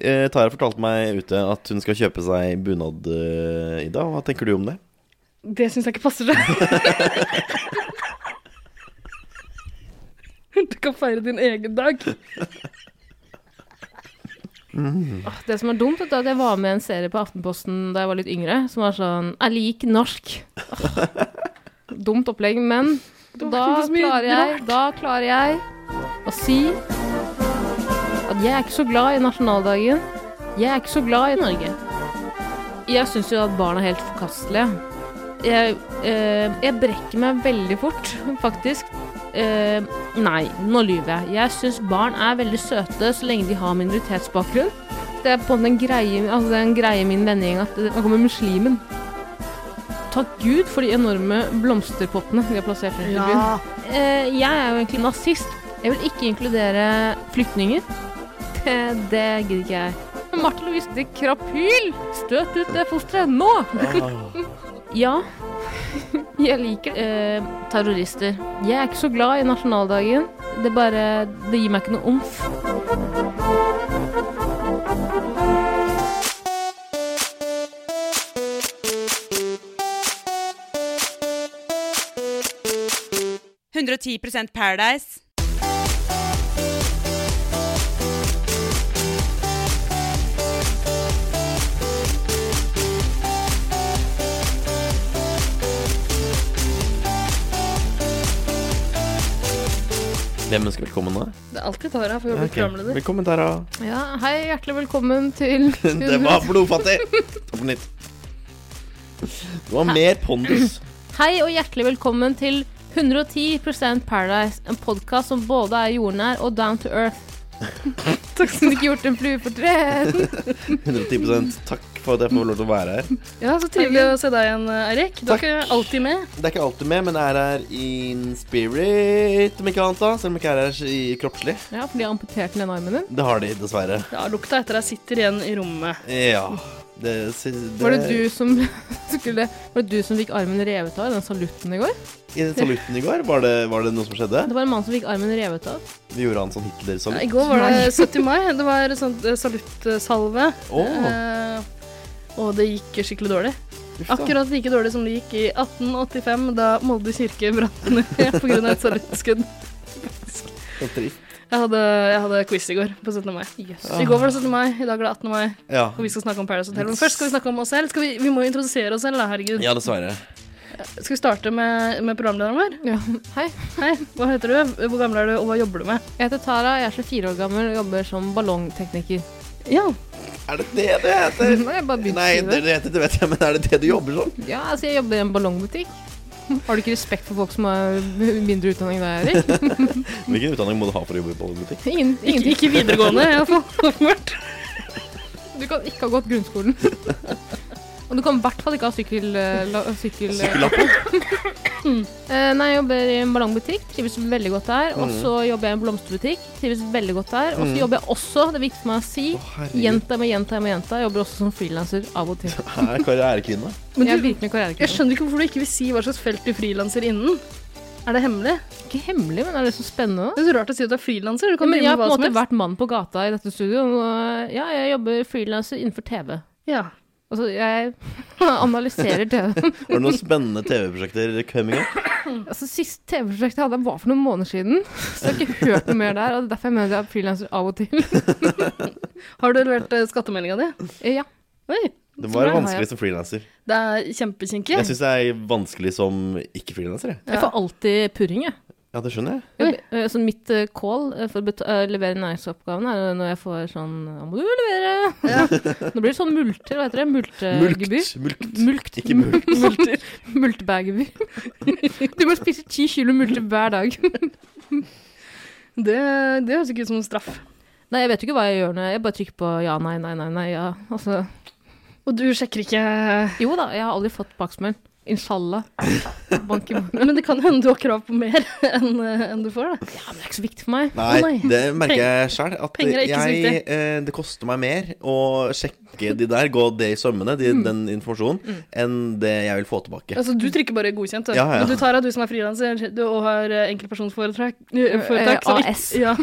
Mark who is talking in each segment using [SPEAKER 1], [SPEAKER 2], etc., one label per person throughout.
[SPEAKER 1] eh, Tara fortalte meg ute at hun skal kjøpe seg bunad, eh, Ida. Hva tenker du om det?
[SPEAKER 2] Det syns jeg ikke passer deg. Du kan feire din egen dag.
[SPEAKER 3] Åh, Ah, Det som er dumt, vet du, er at jeg var med i en serie på Aftenposten da jeg var litt yngre, som var sånn Er lik norsk. Åh, dumt opplegg, men
[SPEAKER 2] var
[SPEAKER 3] da
[SPEAKER 2] så mye
[SPEAKER 3] klarer jeg, da klarer jeg å si at jeg er ikke så glad i nasjonaldagen. Jeg er ikke så glad i Norge. Jeg syns jo at barn er helt forkastelige. Jeg, eh, jeg brekker meg veldig fort, faktisk. Eh, nei, nå lyver jeg. Jeg syns barn er veldig søte så lenge de har minoritetsbakgrunn. Det er på en måte en greie, altså det er en greie i min vennegjeng at det kommer muslimen. Takk Gud for de enorme blomsterpottene vi har plassert rundt i byen. Eh, jeg er jo egentlig nazist. Jeg vil ikke inkludere flyktninger. Det, det gidder ikke jeg. Men Martin Louise, det krapyl! Støt ut det fosteret nå! ja, jeg liker eh, terrorister. Jeg er ikke så glad i nasjonaldagen. Det bare Det gir meg ikke noe omf.
[SPEAKER 4] Paradise.
[SPEAKER 1] Hvem ønsker velkommen nå?
[SPEAKER 2] Det er alltid Tara for å bli
[SPEAKER 1] Ok.
[SPEAKER 2] programleder.
[SPEAKER 1] Velkommen, Tara.
[SPEAKER 3] Ja, hei, hjertelig velkommen til
[SPEAKER 1] Det var blodfattig! Ta på nytt. Det var mer pondus.
[SPEAKER 3] Hei og hjertelig velkommen til 110 Paradise, en podkast som både er jordnær og down to earth. Takk som ikke gjort en flue for tre.
[SPEAKER 1] 110 Takk for at jeg får lov til å være her.
[SPEAKER 2] Ja, Så trivelig å se deg igjen, Eirik. Du er ikke alltid med.
[SPEAKER 1] Det er ikke alltid med, men jeg er her in spirit, om ikke annet, da. Selv om jeg ikke er her i kroppslig.
[SPEAKER 3] Ja, for de har amputert den ene armen din.
[SPEAKER 1] Det har de, dessverre.
[SPEAKER 2] Ja, Lukta etter deg sitter igjen i rommet.
[SPEAKER 1] Ja. Det, det,
[SPEAKER 3] Var det du som skulle Var det du som fikk armen revet av i den salutten i går?
[SPEAKER 1] I den salutten i går, var det, var det noe som skjedde?
[SPEAKER 3] Det var en mann som fikk armen revet av.
[SPEAKER 1] Vi gjorde han sånn
[SPEAKER 2] Ja,
[SPEAKER 1] Hitler-salutt.
[SPEAKER 2] I går var det 70. mai. Det var sånn eh, saluttsalve.
[SPEAKER 1] Åh,
[SPEAKER 2] Eh, og det gikk skikkelig dårlig.
[SPEAKER 1] uff da.
[SPEAKER 2] Akkurat like dårlig som det gikk i 1885, da Molde kirke brant ned pga. et saluttskudd.
[SPEAKER 1] Så trist.
[SPEAKER 2] Jeg hadde, jeg hadde quiz i går på 17. mai.
[SPEAKER 3] Jøss.
[SPEAKER 2] I går var det 17. mai, i dag er det 18. mai,
[SPEAKER 1] Ja.
[SPEAKER 2] og vi skal snakke om Paradise Hotel. Men først skal vi snakke om oss selv. Skal vi, vi må jo introdusere oss selv, da, herregud.
[SPEAKER 1] ja, dessverre.
[SPEAKER 2] Skal vi starte med, med programlederen vår?
[SPEAKER 3] Ja. Hei,
[SPEAKER 2] Hei, hva heter du? Hvor gammel er du, og hva jobber du med?
[SPEAKER 3] jeg heter Tara, jeg er 24 år gammel og jobber som ballongtekniker.
[SPEAKER 2] Ja,
[SPEAKER 1] Er det det det heter?
[SPEAKER 3] Nå har jeg bare begynt
[SPEAKER 1] Nei,
[SPEAKER 3] å
[SPEAKER 1] det,
[SPEAKER 3] skrive.
[SPEAKER 1] det heter det vet jeg, men er det det du jobber som?
[SPEAKER 3] Ja, altså, jeg jobber i en ballongbutikk. Har du ikke respekt for folk som har mindre utdanning enn deg, Erik?
[SPEAKER 1] Hvilken utdanning må du ha for å jobbe i ballongbutikk?
[SPEAKER 3] Ingen,
[SPEAKER 2] ikke,
[SPEAKER 3] ingenting.
[SPEAKER 2] ikke videregående, iallfall. Åpenbart.
[SPEAKER 3] Du kan ikke ha gått grunnskolen. Og du kan i hvert fall ikke ha sykkel... eh, la- sykkel eh.
[SPEAKER 1] Sykkellappen?
[SPEAKER 3] Eh, nei, jeg jobber i en ballongbutikk, trives veldig godt der. Og
[SPEAKER 1] Mm.
[SPEAKER 3] så jobber jeg i en blomsterbutikk, trives veldig godt der. Og så jobber jeg også, det er viktig for meg å si,
[SPEAKER 1] Å, Mm. herregud.
[SPEAKER 3] gjenta med gjenta med gjenta. Jeg jobber også som frilanser av og til.
[SPEAKER 1] Er karrierekvinne?
[SPEAKER 2] Men
[SPEAKER 3] jeg er
[SPEAKER 2] du,
[SPEAKER 3] virkelig
[SPEAKER 2] jeg
[SPEAKER 3] karrierekvinne.
[SPEAKER 2] skjønner ikke hvorfor du ikke vil si hva slags felt du frilanser innen. Er det hemmelig?
[SPEAKER 3] Ikke hemmelig, men er det så spennende? da?
[SPEAKER 2] Det er så rart å si at du er frilanser. Du
[SPEAKER 3] Ja,
[SPEAKER 2] kan
[SPEAKER 3] men jeg
[SPEAKER 2] drive
[SPEAKER 3] har
[SPEAKER 2] med
[SPEAKER 3] på
[SPEAKER 2] hva
[SPEAKER 3] en
[SPEAKER 2] som
[SPEAKER 3] måte
[SPEAKER 2] helst.
[SPEAKER 3] vært mann på gata i dette studioet. Og eh, ja, jeg jobber frilanser innenfor TV.
[SPEAKER 2] Ja.
[SPEAKER 3] Altså, jeg analyserer TV.
[SPEAKER 1] Var det noen spennende TV-prosjekter coming up?
[SPEAKER 3] Altså, Sist TV-prosjekt jeg hadde, var for noen måneder siden. Så jeg har ikke hørt noe mer der. og det er Derfor jeg mener jeg er frilanser av og til.
[SPEAKER 2] Har du levert eh, skattemeldinga di?
[SPEAKER 3] Eh, Ja.
[SPEAKER 2] Oi.
[SPEAKER 1] Det var
[SPEAKER 3] Nei, har
[SPEAKER 1] vanskelig
[SPEAKER 3] jeg.
[SPEAKER 1] som frilanser.
[SPEAKER 2] Det er kjempekinkig.
[SPEAKER 1] Jeg syns det er vanskelig som ikke-frilanser, jeg.
[SPEAKER 3] Jeg får alltid purring, jeg.
[SPEAKER 1] Ja, det skjønner jeg.
[SPEAKER 3] jeg be- eh, så mitt eh, call eh, for å beta- eh, levere næringsoppgavene er når jeg får sånn Nå må du levere! Nå blir det sånn multer, hva heter det?
[SPEAKER 2] Eh,
[SPEAKER 3] Multegebyr?
[SPEAKER 1] Mulkt. mulkt.
[SPEAKER 3] Mulkt.
[SPEAKER 1] Ikke mulkt.
[SPEAKER 3] Multer. Multebærgebyr. Du må spise ti kilo multer hver dag.
[SPEAKER 2] Det, det høres ikke ut som en straff.
[SPEAKER 3] Nei, jeg vet jo ikke hva jeg gjør når jeg bare trykker på ja, nei, nei, nei, nei, ja. Altså
[SPEAKER 2] Og du sjekker ikke
[SPEAKER 3] Jo da, jeg har aldri fått baksmell. Inshallah. Bank i bordet.
[SPEAKER 2] Men det kan hende du har krav på mer enn eh, enn du får, da.
[SPEAKER 3] Ja, men det er ikke så viktig for meg.
[SPEAKER 1] Nei,
[SPEAKER 2] Å, nei.
[SPEAKER 1] det merker jeg sjøl. At
[SPEAKER 2] Penger er ikke så
[SPEAKER 1] jeg, eh, det koster meg mer å sjekke de der, gå det i sømmene, de, den informasjonen, enn det jeg vil få tilbake.
[SPEAKER 2] Mm. Altså, du trykker bare godkjent, du.
[SPEAKER 1] Ja, ja.
[SPEAKER 2] Men du tar av du som er frilanser du- og har eh, enkeltpersonforetak. eh, foretak,
[SPEAKER 3] Eh,
[SPEAKER 2] så ikke-
[SPEAKER 3] AS.
[SPEAKER 2] Ja.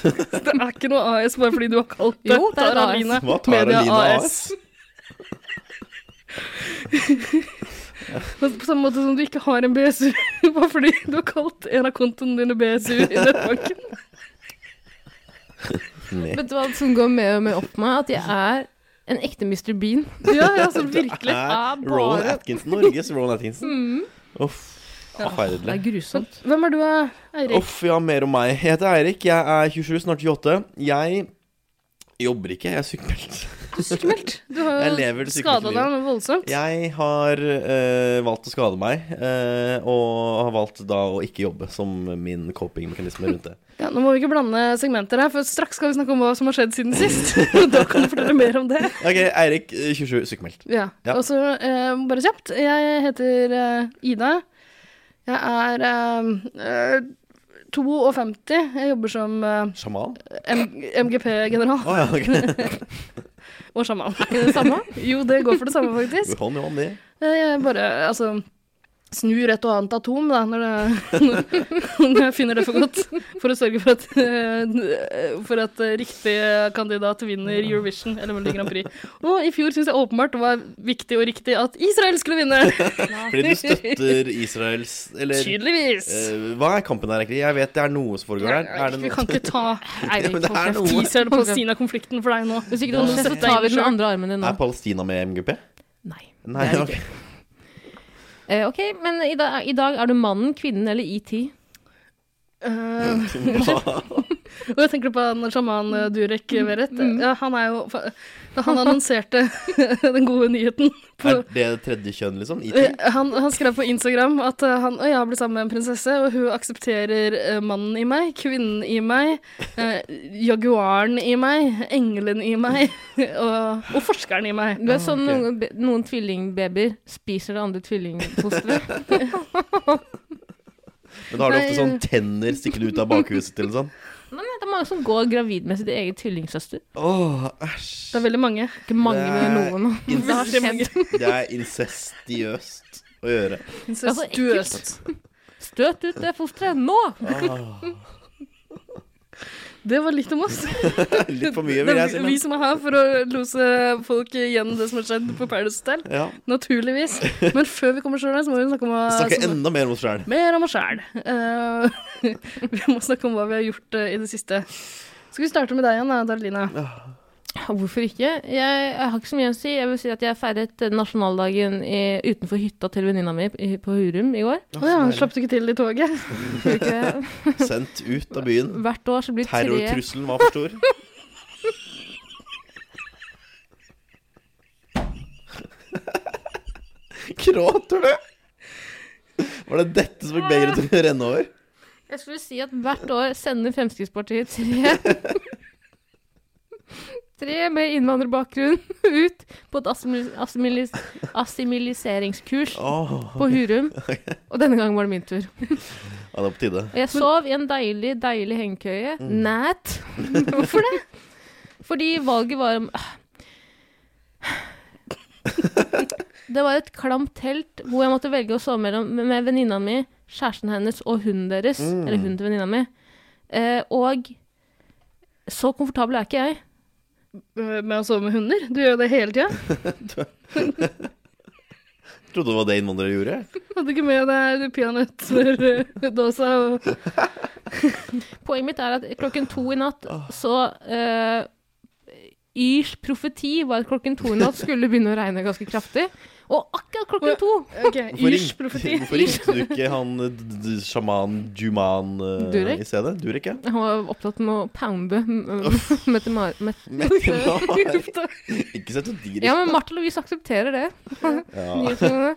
[SPEAKER 2] Så det er ikke noe AS bare fordi du har kalt det
[SPEAKER 3] Jo, det er et AS.
[SPEAKER 2] Aline
[SPEAKER 1] Hva tar
[SPEAKER 2] Media
[SPEAKER 1] Aline AS?
[SPEAKER 2] Men På samme måte som du ikke har en BSU bare fordi du har kalt en av kontoene dine BSU i nettbanken.
[SPEAKER 1] Nei.
[SPEAKER 3] Vet du hva som går mer og mer opp for meg? At jeg er en ekte Mr. Bean.
[SPEAKER 2] Ja, ja, så virkelig.
[SPEAKER 1] Er
[SPEAKER 3] er
[SPEAKER 1] Rowan
[SPEAKER 3] bare-
[SPEAKER 1] Atkinson Norges Rowan Atkinson? Uff.
[SPEAKER 3] Det
[SPEAKER 1] Forferdelig.
[SPEAKER 3] er grusomt.
[SPEAKER 2] Hvem er du, eh, Eirik?
[SPEAKER 1] Uff, ja, mer om meg. Jeg heter Eirik, jeg er 27, snart 28. Jeg jobber ikke, jeg er sykemeldt.
[SPEAKER 2] Du er sykemeldt. Du
[SPEAKER 1] Jeg
[SPEAKER 2] har
[SPEAKER 1] lever
[SPEAKER 2] jo
[SPEAKER 1] det
[SPEAKER 2] skada
[SPEAKER 1] sykemeldte
[SPEAKER 2] deg noe voldsomt.
[SPEAKER 1] Jeg har eh, valgt å skade meg, eh, og har valgt da å ikke jobbe som min coping-mekanisme rundt det.
[SPEAKER 2] Ja, nå må vi ikke blande segmenter her, for straks skal vi snakke om hva som har skjedd siden sist. da kan du fortelle mer om det.
[SPEAKER 1] Ok, Eirik, eh, 27, sykemeldt.
[SPEAKER 2] Ja.
[SPEAKER 1] Ja.
[SPEAKER 2] Og så eh, bare kjapt. Jeg heter eh, Ida. Jeg er eh, eh, 52. Jeg jobber som eh,
[SPEAKER 1] Sjaman?
[SPEAKER 2] M- MGP-general
[SPEAKER 1] Å ja, ok.
[SPEAKER 2] og sjaman.
[SPEAKER 3] Er ikke det det samme?
[SPEAKER 2] Jo, det går for det samme, faktisk.
[SPEAKER 1] Hånd i hånd, det.
[SPEAKER 2] Eh, Jeg bare altså, snur et og annet atom da, når, det, når jeg finner det for godt, for å sørge for at, eh, for at eh, riktig kandidat vinner Eurovision eller Melodi Grand Prix. Og i fjor syns jeg åpenbart det var viktig og riktig at Israel skulle vinne!
[SPEAKER 1] Fordi du støtter Israels Eller
[SPEAKER 2] Tydeligvis!
[SPEAKER 1] eh, hva er kampen her, egentlig? Jeg vet det er noe som foregår her. Er det
[SPEAKER 2] Vi
[SPEAKER 1] noe?
[SPEAKER 2] kan ikke ta
[SPEAKER 1] Ja, men det er
[SPEAKER 3] Eirik,
[SPEAKER 1] noe.
[SPEAKER 2] Israel og Palestina-konflikten for deg nå.
[SPEAKER 3] Hvis ikke
[SPEAKER 2] Ja.
[SPEAKER 3] du har sett, så tar vi den andre armen din nå.
[SPEAKER 1] Er Palestina med i MGP?
[SPEAKER 3] Nei.
[SPEAKER 1] Nei,
[SPEAKER 3] Det er
[SPEAKER 1] ok.
[SPEAKER 3] Eh, ok, men i, da, i dag er du mannen, kvinnen eller E ET?
[SPEAKER 2] Eh,
[SPEAKER 1] Hva?
[SPEAKER 2] Og jeg tenker på han sjaman eh, Durek Verrett. Ja, han er jo fa- Da han annonserte den gode nyheten på
[SPEAKER 1] Er det tredje kjønn, liksom? IT?
[SPEAKER 2] Eh, han, han skrev på Instagram at eh, han og jeg har blitt sammen med en prinsesse, og hun aksepterer eh, mannen i meg, kvinnen i meg, eh, jaguaren i meg, engelen i meg og, og forskeren i meg.
[SPEAKER 3] Du er sånn
[SPEAKER 1] Ah, ok.
[SPEAKER 3] noen, be- noen tvillingbabyer spiser det andre tvillingfosteret.
[SPEAKER 1] Men da har du ofte
[SPEAKER 2] Nei,
[SPEAKER 1] sånn tenner stikkende ut av bakhuset til sånn.
[SPEAKER 3] Men det er mange som går gravid med sitt eget tvillingsøster.
[SPEAKER 1] Åh, æsj.
[SPEAKER 2] Det er veldig mange.
[SPEAKER 3] Ikke mange med
[SPEAKER 1] Det er
[SPEAKER 3] noen.
[SPEAKER 2] Det har skjedd mange.
[SPEAKER 1] Det er incestiøst å gjøre.
[SPEAKER 2] Altså, Incestuøst.
[SPEAKER 3] Støt ut det fosteret nå!
[SPEAKER 2] Det var litt om oss.
[SPEAKER 1] Litt for mye,
[SPEAKER 2] Det
[SPEAKER 1] vil
[SPEAKER 2] er
[SPEAKER 1] jeg
[SPEAKER 2] vi-
[SPEAKER 1] si.
[SPEAKER 2] vi
[SPEAKER 1] Men.
[SPEAKER 2] som er her for å lose folk gjennom det som har skjedd på Paradise Hotel.
[SPEAKER 1] Ja.
[SPEAKER 2] Naturligvis. Men før vi kommer sjøl her, så må vi snakke om hva
[SPEAKER 1] Snakke
[SPEAKER 2] som-
[SPEAKER 1] enda mer om oss sjæl.
[SPEAKER 2] mer om oss sjæl. Eh, vi må snakke om hva vi har gjort eh, i det siste. Skal vi starte med deg igjen, da, Darlina?
[SPEAKER 3] Hvorfor ikke? Jeg, jeg har ikke så mye å si. Jeg vil si at jeg feiret eh, nasjonaldagen i, utenfor hytta til venninna mi i- på Hurum i går.
[SPEAKER 2] Å ja, slapp du ikke til i toget?
[SPEAKER 3] Tror du ikke-
[SPEAKER 2] sånn-
[SPEAKER 1] Sendt ut av byen.
[SPEAKER 3] Hvert år så blir tre
[SPEAKER 1] Terrortrusselen var for stor. Gråter du? Var det dette som fikk begeret til å renne over?
[SPEAKER 3] Jeg skulle si at hvert år sender Fremskrittspartiet tre Tre med innvandrerbakgrunn ut på et assimil- assimilis assimiliseringskurs
[SPEAKER 1] Åh,
[SPEAKER 3] på Hurum. Og denne gangen var det min tur.
[SPEAKER 1] ja, det var på tide.
[SPEAKER 3] Og jeg sov i en deilig, deilig hengekøye. Nært. Hvorfor det? Fordi valget var om Ah. Det var et klamt telt hvor jeg måtte velge å sove mellom med venninna mi, kjæresten hennes og hunden deres.
[SPEAKER 1] Mm.
[SPEAKER 3] Eller hunden til venninna mi. Eh, og så komfortabel er ikke jeg.
[SPEAKER 2] Eh, Med å sove med hunder? Du gjør jo det hele tida.
[SPEAKER 1] Trodde det var det innvandrere gjorde.
[SPEAKER 2] Hadde ikke med deg peanøttdåsa og
[SPEAKER 3] Poenget mitt er at klokken to i natt så eh, Yrs profeti var at klokken to i natt skulle begynne å regne ganske kraftig. Og akkurat klokken to
[SPEAKER 2] Ok,
[SPEAKER 1] Hvorfor
[SPEAKER 2] Yrs
[SPEAKER 1] ring-
[SPEAKER 2] profeti.
[SPEAKER 1] Hvorfor ringte du ikke han eh, d- d- sjaman Juman eh,
[SPEAKER 3] Durek?
[SPEAKER 1] i stedet? Durek, ja.
[SPEAKER 3] Han var opptatt med å pounde eh, Mette Mar... Mette.
[SPEAKER 1] Men, ikke sett ut dyr.
[SPEAKER 3] Ja, men Martha Louise aksepterer det.
[SPEAKER 1] Ja.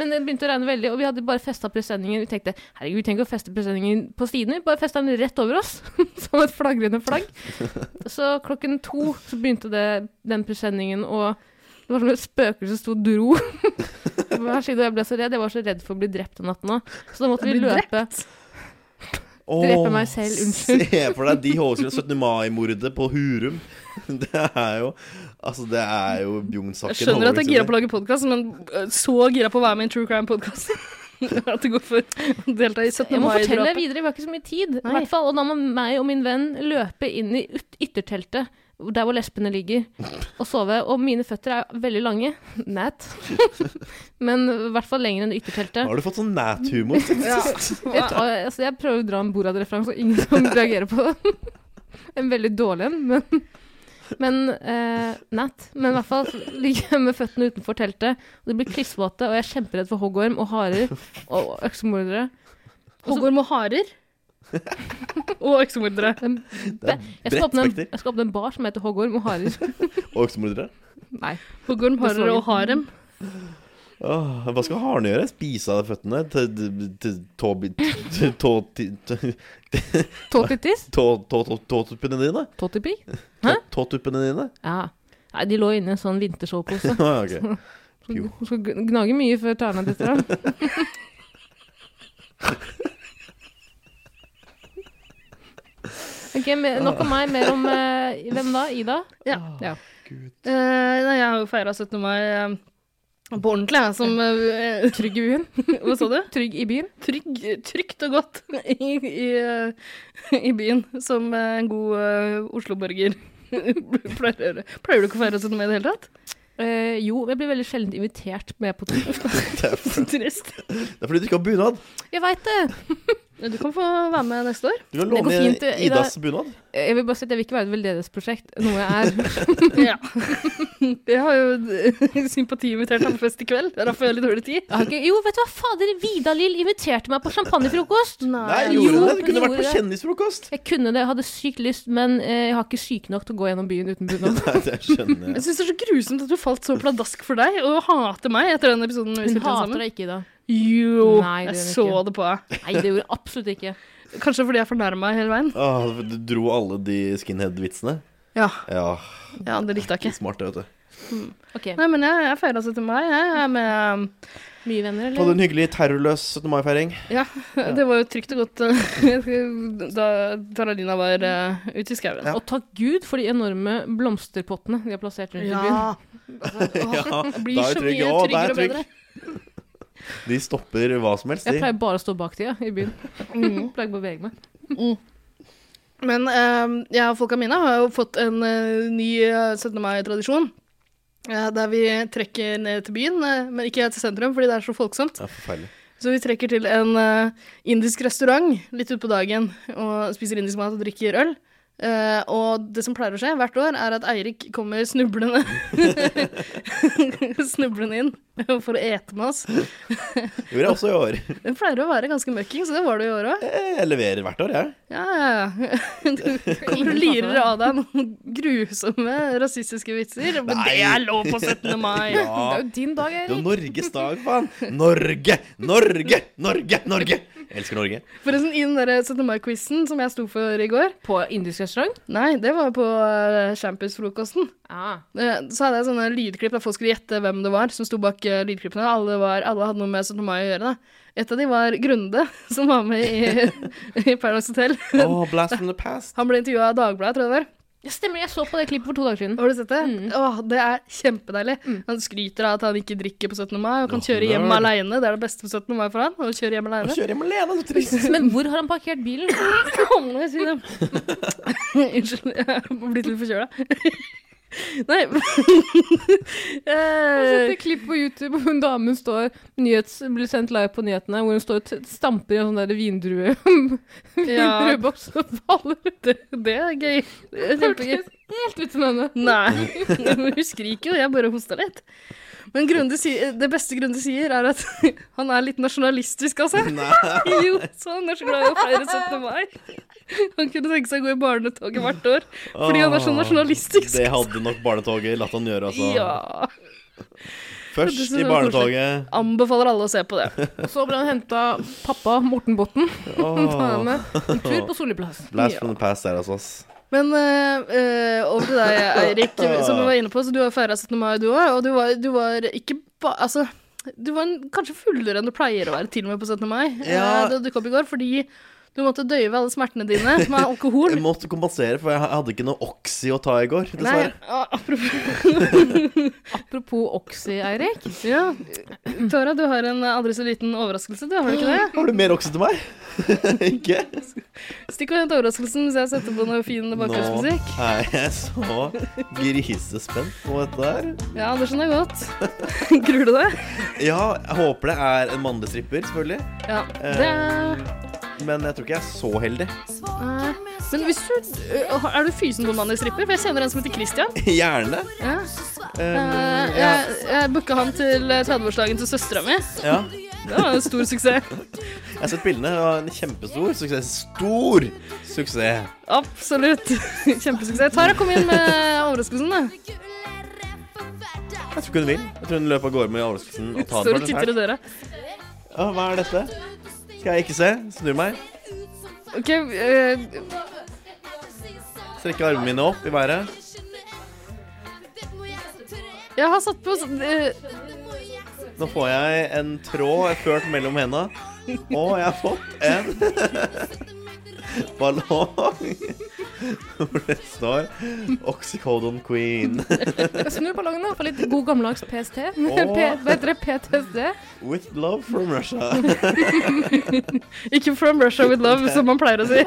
[SPEAKER 3] Men det begynte å regne veldig, og vi hadde bare festa presenningen. Vi tenkte herregud, vi trenger ikke å feste presenningen på siden, vi bare festa den rett over oss. Som et flagrende flagg. Så klokken to så begynte det, den presenningen, og det var som et spøkelse som sto og dro. Hver side, og jeg ble så redd. Jeg var så redd for å bli drept den natten òg. Så da måtte vi
[SPEAKER 2] Bli
[SPEAKER 3] løpe. Drepe meg selv, unnskyld.
[SPEAKER 1] Se for deg de hovedskriftene. 17. mai-mordet på Hurum. Det er jo Altså, det er jo Bjugn-saken.
[SPEAKER 2] Jeg skjønner at jeg er gira på å
[SPEAKER 1] hovedskriftene.
[SPEAKER 2] lage podkast, men eh, så gira på å være med i en true crime-podkast at det går for å delta i 17.
[SPEAKER 3] Jeg må fortelle
[SPEAKER 2] mai-drapet.
[SPEAKER 3] videre, vi har ikke så mye tid. I
[SPEAKER 2] Nei.
[SPEAKER 3] hvert fall, Og da må meg og min venn løpe inn i yt ytterteltet, hvor- der hvor lesbene ligger, og sove. Og mine føtter er veldig lange. Nat. Men i hvert fall lenger enn ytterteltet.
[SPEAKER 1] Nå har du fått sånn nat-humor.
[SPEAKER 3] Jeg, tar, altså, jeg prøver å dra en Borad-referanse, og ingen som reagerer på det. En veldig dårlig en, men men eh, nat. Men i hvert fall ligger jeg med føttene utenfor teltet, og det blir klissvåte, og jeg er kjemperedd for hoggorm og harer og øksemordere.
[SPEAKER 2] Hoggorm og harer. Og øksemordere.
[SPEAKER 3] Den
[SPEAKER 1] Det er
[SPEAKER 3] Jeg skal,
[SPEAKER 1] bredt
[SPEAKER 3] åpne en,
[SPEAKER 1] spekter.
[SPEAKER 3] jeg skal åpne en bar som heter Hoggorm og Harer.
[SPEAKER 1] Og øksemordere.
[SPEAKER 3] Nei.
[SPEAKER 2] Hoggorm, harer og harem.
[SPEAKER 1] Åh, Hva skal harene gjøre? Spise av føttene? Til- til- til- tåbi- til- tå- til- til-
[SPEAKER 3] Tåtittis?
[SPEAKER 1] tå- tå- tå- Tåtuppene dine?
[SPEAKER 3] Tåtipi?
[SPEAKER 1] Tå- Tåtuppene dine?
[SPEAKER 3] Ja. Nei, de lå inne i en sånn vintersovepose.
[SPEAKER 1] Å, ja, ok. Jo.
[SPEAKER 3] Du skal gn- gnage mye før tærne detter av. Ok, men Nok om meg, mer om eh, hvem da? Ida?
[SPEAKER 2] Eh, nei, jeg har jo feira 17. mai eh, på ordentlig, jeg, som eh,
[SPEAKER 3] Trygg i byen?
[SPEAKER 2] Hva sa du?
[SPEAKER 3] Trygg i byen?
[SPEAKER 2] Trygg, trygt og godt i, i, eh, i byen, som eh, en god eh, Oslo-borger pleier å gjøre. Pleier du ikke å feire 17. mai i det hele tatt?
[SPEAKER 3] Eh, jo, jeg blir veldig sjelden invitert med på tur.
[SPEAKER 1] Det er
[SPEAKER 2] Så trist.
[SPEAKER 1] det er fordi du ikke har bunad.
[SPEAKER 3] Jeg veit det!
[SPEAKER 2] Du kan få være med neste år.
[SPEAKER 1] Du kan
[SPEAKER 3] Det går
[SPEAKER 1] låne
[SPEAKER 3] fint, Ida.
[SPEAKER 1] Idas bunad.
[SPEAKER 3] Jeg vil bare si at jeg vil ikke være et veldedighetsprosjekt, noe jeg er.
[SPEAKER 2] Ja. Jeg har jo sympatiinvitert ham på fest i kveld. Det er derfor jeg har litt dårlig tid.
[SPEAKER 3] Jeg har ikke, jo, vet du hva, fader, Vida Lill inviterte meg på champagnefrokost!
[SPEAKER 1] Nei,
[SPEAKER 3] Ah, jo,
[SPEAKER 1] gjorde det? Du
[SPEAKER 3] det
[SPEAKER 1] kunne vært på
[SPEAKER 3] gjorde det.
[SPEAKER 1] kjendisfrokost.
[SPEAKER 3] Jeg kunne det, jeg hadde sykt lyst, men eh, jeg har ikke syke nok til å gå gjennom byen uten bunad.
[SPEAKER 1] Nei, det skjønner jeg.
[SPEAKER 2] Jeg syns det er så grusomt at du falt så pladask for deg, og hater meg etter den episoden vi
[SPEAKER 3] Hun
[SPEAKER 2] spilte inn
[SPEAKER 3] hater
[SPEAKER 2] sammen.
[SPEAKER 3] deg ikke, Ida.
[SPEAKER 2] Jo,
[SPEAKER 3] Nei, det
[SPEAKER 2] jeg
[SPEAKER 3] gjør
[SPEAKER 2] så
[SPEAKER 3] hun ikke.
[SPEAKER 2] det på deg.
[SPEAKER 3] Nei, det gjorde jeg absolutt ikke.
[SPEAKER 2] Kanskje fordi jeg fornærma hele veien.
[SPEAKER 1] Åh, Ah, du dro alle de skinhead-vitsene.
[SPEAKER 2] Ja,
[SPEAKER 1] Ja,
[SPEAKER 2] ja det likte jeg ikke.
[SPEAKER 1] smart det, vet du.
[SPEAKER 3] Ok,
[SPEAKER 2] Nei, men jeg, jeg feira 17. mai. Jeg er med
[SPEAKER 3] Mye venner,
[SPEAKER 1] Hadde en
[SPEAKER 3] eller?
[SPEAKER 1] hyggelig terrorløs 17. mai-feiring.
[SPEAKER 2] Ja, det var jo trygt og godt eh, da Taralina var eh, ute i skauen.
[SPEAKER 1] Ja.
[SPEAKER 3] Og takk Gud for de enorme blomsterpottene de har plassert rundt i byen.
[SPEAKER 1] Ja,
[SPEAKER 2] Det blir
[SPEAKER 1] da er trygg. Å, da er
[SPEAKER 2] så mye tryggere og
[SPEAKER 1] trygg.
[SPEAKER 2] bedre.
[SPEAKER 1] De stopper hva som helst,
[SPEAKER 3] Jeg
[SPEAKER 1] de.
[SPEAKER 3] pleier bare å stå bak tida i byen.
[SPEAKER 2] Mm.
[SPEAKER 3] Pleier ikke å bevege meg.
[SPEAKER 2] Men eh, jeg og folka mine har jo fått en eh, ny eh, 17. mai-tradisjon. eh, der vi trekker ned til byen, eh, men ikke til sentrum, fordi det er så folksomt.
[SPEAKER 1] Ja, forferdelig.
[SPEAKER 2] Så vi trekker til en eh, indisk restaurant litt utpå dagen og spiser indisk mat og drikker øl. Eh, og det som pleier å skje hvert år, er at Eirik kommer snublende Snublende inn for å ete med oss.
[SPEAKER 1] Gjorde jeg også i år. Eh,
[SPEAKER 2] Det pleier å være ganske møkking, så det var det i år òg.
[SPEAKER 1] Jeg leverer hvert år, jeg.
[SPEAKER 2] Ja, ja, ja. Du kommer og lirer av deg noen grusomme rasistiske vitser. Men
[SPEAKER 1] Nei.
[SPEAKER 2] det er lov på 17. mai!
[SPEAKER 3] Det
[SPEAKER 1] Ja.
[SPEAKER 3] er jo din dag,
[SPEAKER 1] Det er jo
[SPEAKER 3] Erik.
[SPEAKER 1] Norges dag, faen. Norge, Norge, Norge, Norge. Jeg elsker Norge.
[SPEAKER 2] Forresten, i den der 17. mai-quizen som jeg sto for i går
[SPEAKER 3] På indisk restaurant?
[SPEAKER 2] Nei, det var på eh, campusfrokosten.
[SPEAKER 3] Ah.
[SPEAKER 2] Eh, Så hadde jeg sånne lydklipp der folk skulle gjette hvem det var som sto bak eh, lydklippene. Alle, var, alle hadde noe med 17. mai å gjøre. da. Et av de var Grunde, som var med i, i Paradise Hotel.
[SPEAKER 1] Oh, blast from the past.
[SPEAKER 2] Han ble intervjua av Dagbladet, tror jeg det var.
[SPEAKER 3] Ja, stemmer, jeg så på det klippet for to dager siden.
[SPEAKER 2] Har du sett det?
[SPEAKER 3] Mm.
[SPEAKER 2] Åh, det er kjempedeilig. Han skryter av at han ikke drikker på 17. mai og kan
[SPEAKER 1] Åh,
[SPEAKER 2] kjøre hjem
[SPEAKER 1] nerd.
[SPEAKER 2] alene. Det er det beste på 17. mai for han, å kjøre hjem
[SPEAKER 1] Å
[SPEAKER 2] alene.
[SPEAKER 1] kjøre hjem alene, så trist.
[SPEAKER 3] Men hvor har han parkert bilen?
[SPEAKER 2] Nå sier jeg det. Unnskyld, jeg har blitt litt forkjøla. Nei
[SPEAKER 3] Jeg har sett
[SPEAKER 2] Eh,
[SPEAKER 3] et klipp på YouTube hvor en dame står nyhets, blir sendt live på nyhetene, hvor hun står og t- stamper i en sånn der vindrue
[SPEAKER 2] Ja.
[SPEAKER 3] vindrueboks og faller ut.
[SPEAKER 2] det, det er gøy. Det er kjempegøy.
[SPEAKER 3] Hørtes Helt ut som henne.
[SPEAKER 2] Nei, hun skriker jo, jeg bare hosta litt. Men Grunde sier, det beste Grunde sier, er at han er litt nasjonalistisk, altså.
[SPEAKER 1] Nei.
[SPEAKER 2] Jo, så han er så glad i å feire 17. mai. Han kunne tenke seg å gå i barnetoget hvert år fordi han er så
[SPEAKER 1] Åh,
[SPEAKER 2] nasjonalistisk.
[SPEAKER 1] Det hadde nok barnetoget latt han gjøre, altså.
[SPEAKER 2] Ja.
[SPEAKER 1] Først i barnetoget.
[SPEAKER 2] Anbefaler alle å se på det.
[SPEAKER 3] Og så ble han henta pappa, Morten Botten,
[SPEAKER 1] Åh,
[SPEAKER 3] med en tur på Solli plass.
[SPEAKER 1] Blast from the past der, altså. ass.
[SPEAKER 2] Men eh, eh, over til deg, Eirik, som vi var inne på. Så du har feira 17. mai, du òg. Og du var, du var ikke ba... Altså, Du var en, kanskje fullere enn du pleier å være, til og med på 17. mai.
[SPEAKER 1] Ja.
[SPEAKER 2] eh, Da du dukka opp i går, fordi du måtte døyve alle smertene dine med alkohol.
[SPEAKER 1] Jeg måtte kompensere, for jeg hadde ikke noe Oxy å ta i går, dessverre.
[SPEAKER 2] Nei, a- apropos
[SPEAKER 3] Apropos Oxy, Eirik.
[SPEAKER 2] Ja, Tara, du har en aldri så liten overraskelse, du, har du ikke det?
[SPEAKER 1] Har du mer Oxy til meg? ikke?
[SPEAKER 2] Stikk og hent overraskelsen hvis jeg setter på noe fin
[SPEAKER 1] Nå
[SPEAKER 2] Sånn bakgrunnsmusikk.
[SPEAKER 1] er jeg så grisespent på dette her.
[SPEAKER 2] Ja, det skjønner jeg godt. Gruer du deg?
[SPEAKER 1] Ja, jeg håper det er en mannlig stripper, selvfølgelig.
[SPEAKER 2] Ja, det er
[SPEAKER 1] Men jeg tror ikke jeg er så heldig. Eh.
[SPEAKER 2] Nei. Men hvis du øh, Er du fysen på en mann i stripper? For jeg kjenner en som heter Christian.
[SPEAKER 1] Gjerne.
[SPEAKER 2] Ja.
[SPEAKER 1] Eh,
[SPEAKER 2] Eh, jeg jeg booka han til eh, 30-årsdagen til søstera mi.
[SPEAKER 1] ja.
[SPEAKER 2] Det var en stor suksess.
[SPEAKER 1] Jeg har sett bildene. Det var en kjempestor suksess. Stor suksess.
[SPEAKER 2] Absolutt. Kjempesuksess. Tara, kom inn med overraskelsen, da.
[SPEAKER 1] Jeg tror ikke hun vil. Jeg tror hun løp av gårde med overraskelsen. Og tar
[SPEAKER 2] Står
[SPEAKER 1] den for
[SPEAKER 2] og
[SPEAKER 1] seg
[SPEAKER 2] titter i
[SPEAKER 1] selv.
[SPEAKER 2] døra.
[SPEAKER 1] Å, Hva er dette? Skal jeg ikke se? Snur meg.
[SPEAKER 2] OK, eh,
[SPEAKER 1] Strekker armene mine opp i været.
[SPEAKER 2] jeg har satt på eh,
[SPEAKER 1] Nå får jeg en tråd ført mellom henda. Og jeg har fått en ballong hvor det står 'Oxycodon Queen'
[SPEAKER 3] Snu ballongen og få litt god gammeldags PST.
[SPEAKER 1] Åh.
[SPEAKER 3] P hva heter det? PTSD.
[SPEAKER 1] with love from Russia.
[SPEAKER 2] Ikke 'From Russia with Love', som man pleier å si.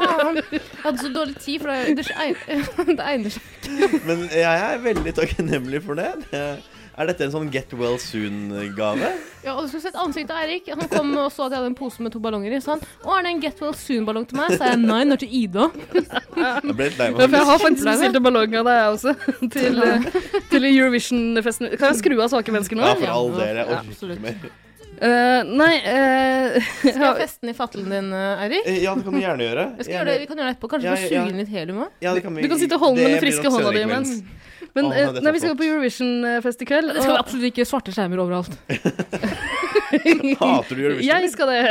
[SPEAKER 3] Faen. Jeg hadde så dårlig tid, for det, det, egn- det egner seg.
[SPEAKER 1] Men jeg er veldig takknemlig for det. Det- Er dette en sånn get well soon-gave?
[SPEAKER 3] Ja, og Du skulle sett ansiktet til Eirik. Han kom og så at jeg hadde en pose med to ballonger i. Så han Å, er det en Get Well Soon-ballong til meg? Sa jeg nei, når til Ida.
[SPEAKER 1] Jeg ble litt lei
[SPEAKER 2] Ja,
[SPEAKER 1] meg.
[SPEAKER 2] for jeg har faktisk
[SPEAKER 3] Kjempebra, det.
[SPEAKER 2] bestilt en ballong av deg, jeg også. Til, eh, til Eurovision-festen. Kan jeg skru av svake mennesker nå?
[SPEAKER 1] Ja, for all del. Jeg
[SPEAKER 3] Ja,
[SPEAKER 1] orker
[SPEAKER 3] absolutt.
[SPEAKER 1] ikke mer.
[SPEAKER 2] Eh, nei eh,
[SPEAKER 3] Skal jeg feste den i fattelen din, Eirik?
[SPEAKER 1] Eh, Ja, det kan du gjerne gjøre.
[SPEAKER 3] Vi, skal gjøre det- vi kan gjøre det etterpå. Kanskje
[SPEAKER 1] Ja,
[SPEAKER 3] du
[SPEAKER 1] ja,
[SPEAKER 3] suger
[SPEAKER 1] ja.
[SPEAKER 3] inn litt helium òg?
[SPEAKER 1] Ja, det kan vi-
[SPEAKER 2] Du kan sitte og holde med
[SPEAKER 1] det
[SPEAKER 2] den
[SPEAKER 1] blir
[SPEAKER 2] friske
[SPEAKER 1] nok
[SPEAKER 2] hånda di
[SPEAKER 1] senere i kveld.
[SPEAKER 2] imens. Men
[SPEAKER 1] Å, nei,
[SPEAKER 2] eh,
[SPEAKER 1] dette er
[SPEAKER 2] nei, vi skal
[SPEAKER 1] flott.
[SPEAKER 2] på Eurovision-fest i kveld.
[SPEAKER 3] Det skal
[SPEAKER 2] og-
[SPEAKER 3] være absolutt ikke svarte skjermer overalt.
[SPEAKER 1] Hater du Eurovision?
[SPEAKER 2] Jeg skal det.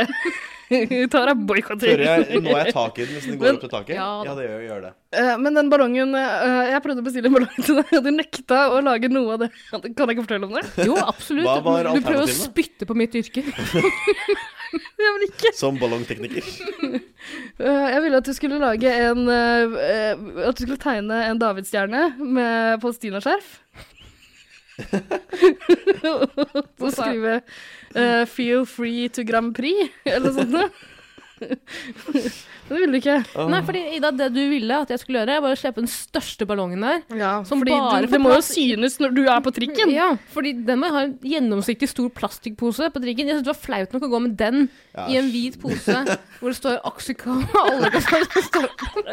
[SPEAKER 1] Hører
[SPEAKER 2] Tara boikotter.
[SPEAKER 1] jeg, nå er jeg taket i den hvis den går
[SPEAKER 2] Men-
[SPEAKER 1] opp til taket?
[SPEAKER 3] Ja da.
[SPEAKER 1] Ja, det gjør, gjør det.
[SPEAKER 2] Eh, Men den ballongen eh, Jeg prøvde å bestille en ballong til deg, og du nekta å lage noe av det. Kan jeg ikke fortelle om det?
[SPEAKER 3] Jo, absolutt.
[SPEAKER 1] Hva var
[SPEAKER 3] Du prøver å
[SPEAKER 1] alternativene?
[SPEAKER 3] spytte på mitt yrke.
[SPEAKER 2] Jeg vil ikke.
[SPEAKER 1] Som ballongtekniker.
[SPEAKER 2] Eh, Jeg ville at du skulle lage en eh, eh, At du skulle tegne en davidsstjerne med palestinaskjerf. Og skrive eh, 'Feel free to Grand Prix' eller noe sånt. noe. Men det ville du ikke.
[SPEAKER 1] Åh.
[SPEAKER 3] Nei, fordi Ida, det du ville at jeg skulle gjøre, var å slippe den største ballongen der.
[SPEAKER 2] Ja,
[SPEAKER 3] Som
[SPEAKER 2] fordi
[SPEAKER 3] bare
[SPEAKER 2] du,
[SPEAKER 3] får
[SPEAKER 2] det må jo
[SPEAKER 3] plass-
[SPEAKER 2] synes når du er på trikken.
[SPEAKER 3] Ja, fordi den må ha en gjennomsiktig stor plastikkpose på drikken. Jeg synes det var flaut nok å gå med den
[SPEAKER 1] Ja.
[SPEAKER 3] i en hvit pose hvor det står Oxyco og alle kan stå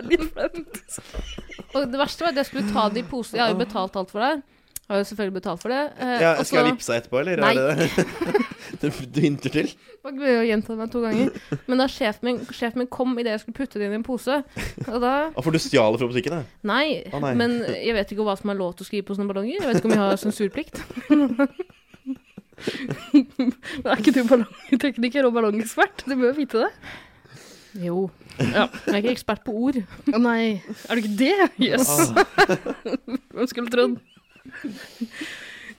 [SPEAKER 3] det står Og det verste var at jeg skulle ta det i pose. Jeg har jo betalt alt for det. her. Jeg har jo selvfølgelig betalt for det. Eh,
[SPEAKER 1] Ja,
[SPEAKER 3] og
[SPEAKER 1] skal jeg
[SPEAKER 2] altså-
[SPEAKER 3] så-
[SPEAKER 1] vippse deg etterpå, eller?
[SPEAKER 3] Nei.
[SPEAKER 1] Er det det du hinter til?
[SPEAKER 3] Var ikke mye å gjenta det meg to ganger. Men da sjefen min, sjefen min kom idet jeg skulle putte det inn i en pose, og da
[SPEAKER 1] Ah, for du stjal det fra butikken? da?
[SPEAKER 3] Nei,
[SPEAKER 1] Å, nei.
[SPEAKER 3] men jeg vet ikke hva som er lov til å skrive på sånne ballonger. Jeg vet ikke om jeg har sensurplikt.
[SPEAKER 2] Men Er ikke du ballongtekniker og ballongekspert? Du bør jo vite det.
[SPEAKER 3] Jo.
[SPEAKER 2] Ja.
[SPEAKER 3] Jeg er ikke ekspert på ord.
[SPEAKER 2] Å nei, er du ikke det? Jøss. Yes.
[SPEAKER 1] Ah,
[SPEAKER 2] Hvem skulle trodd?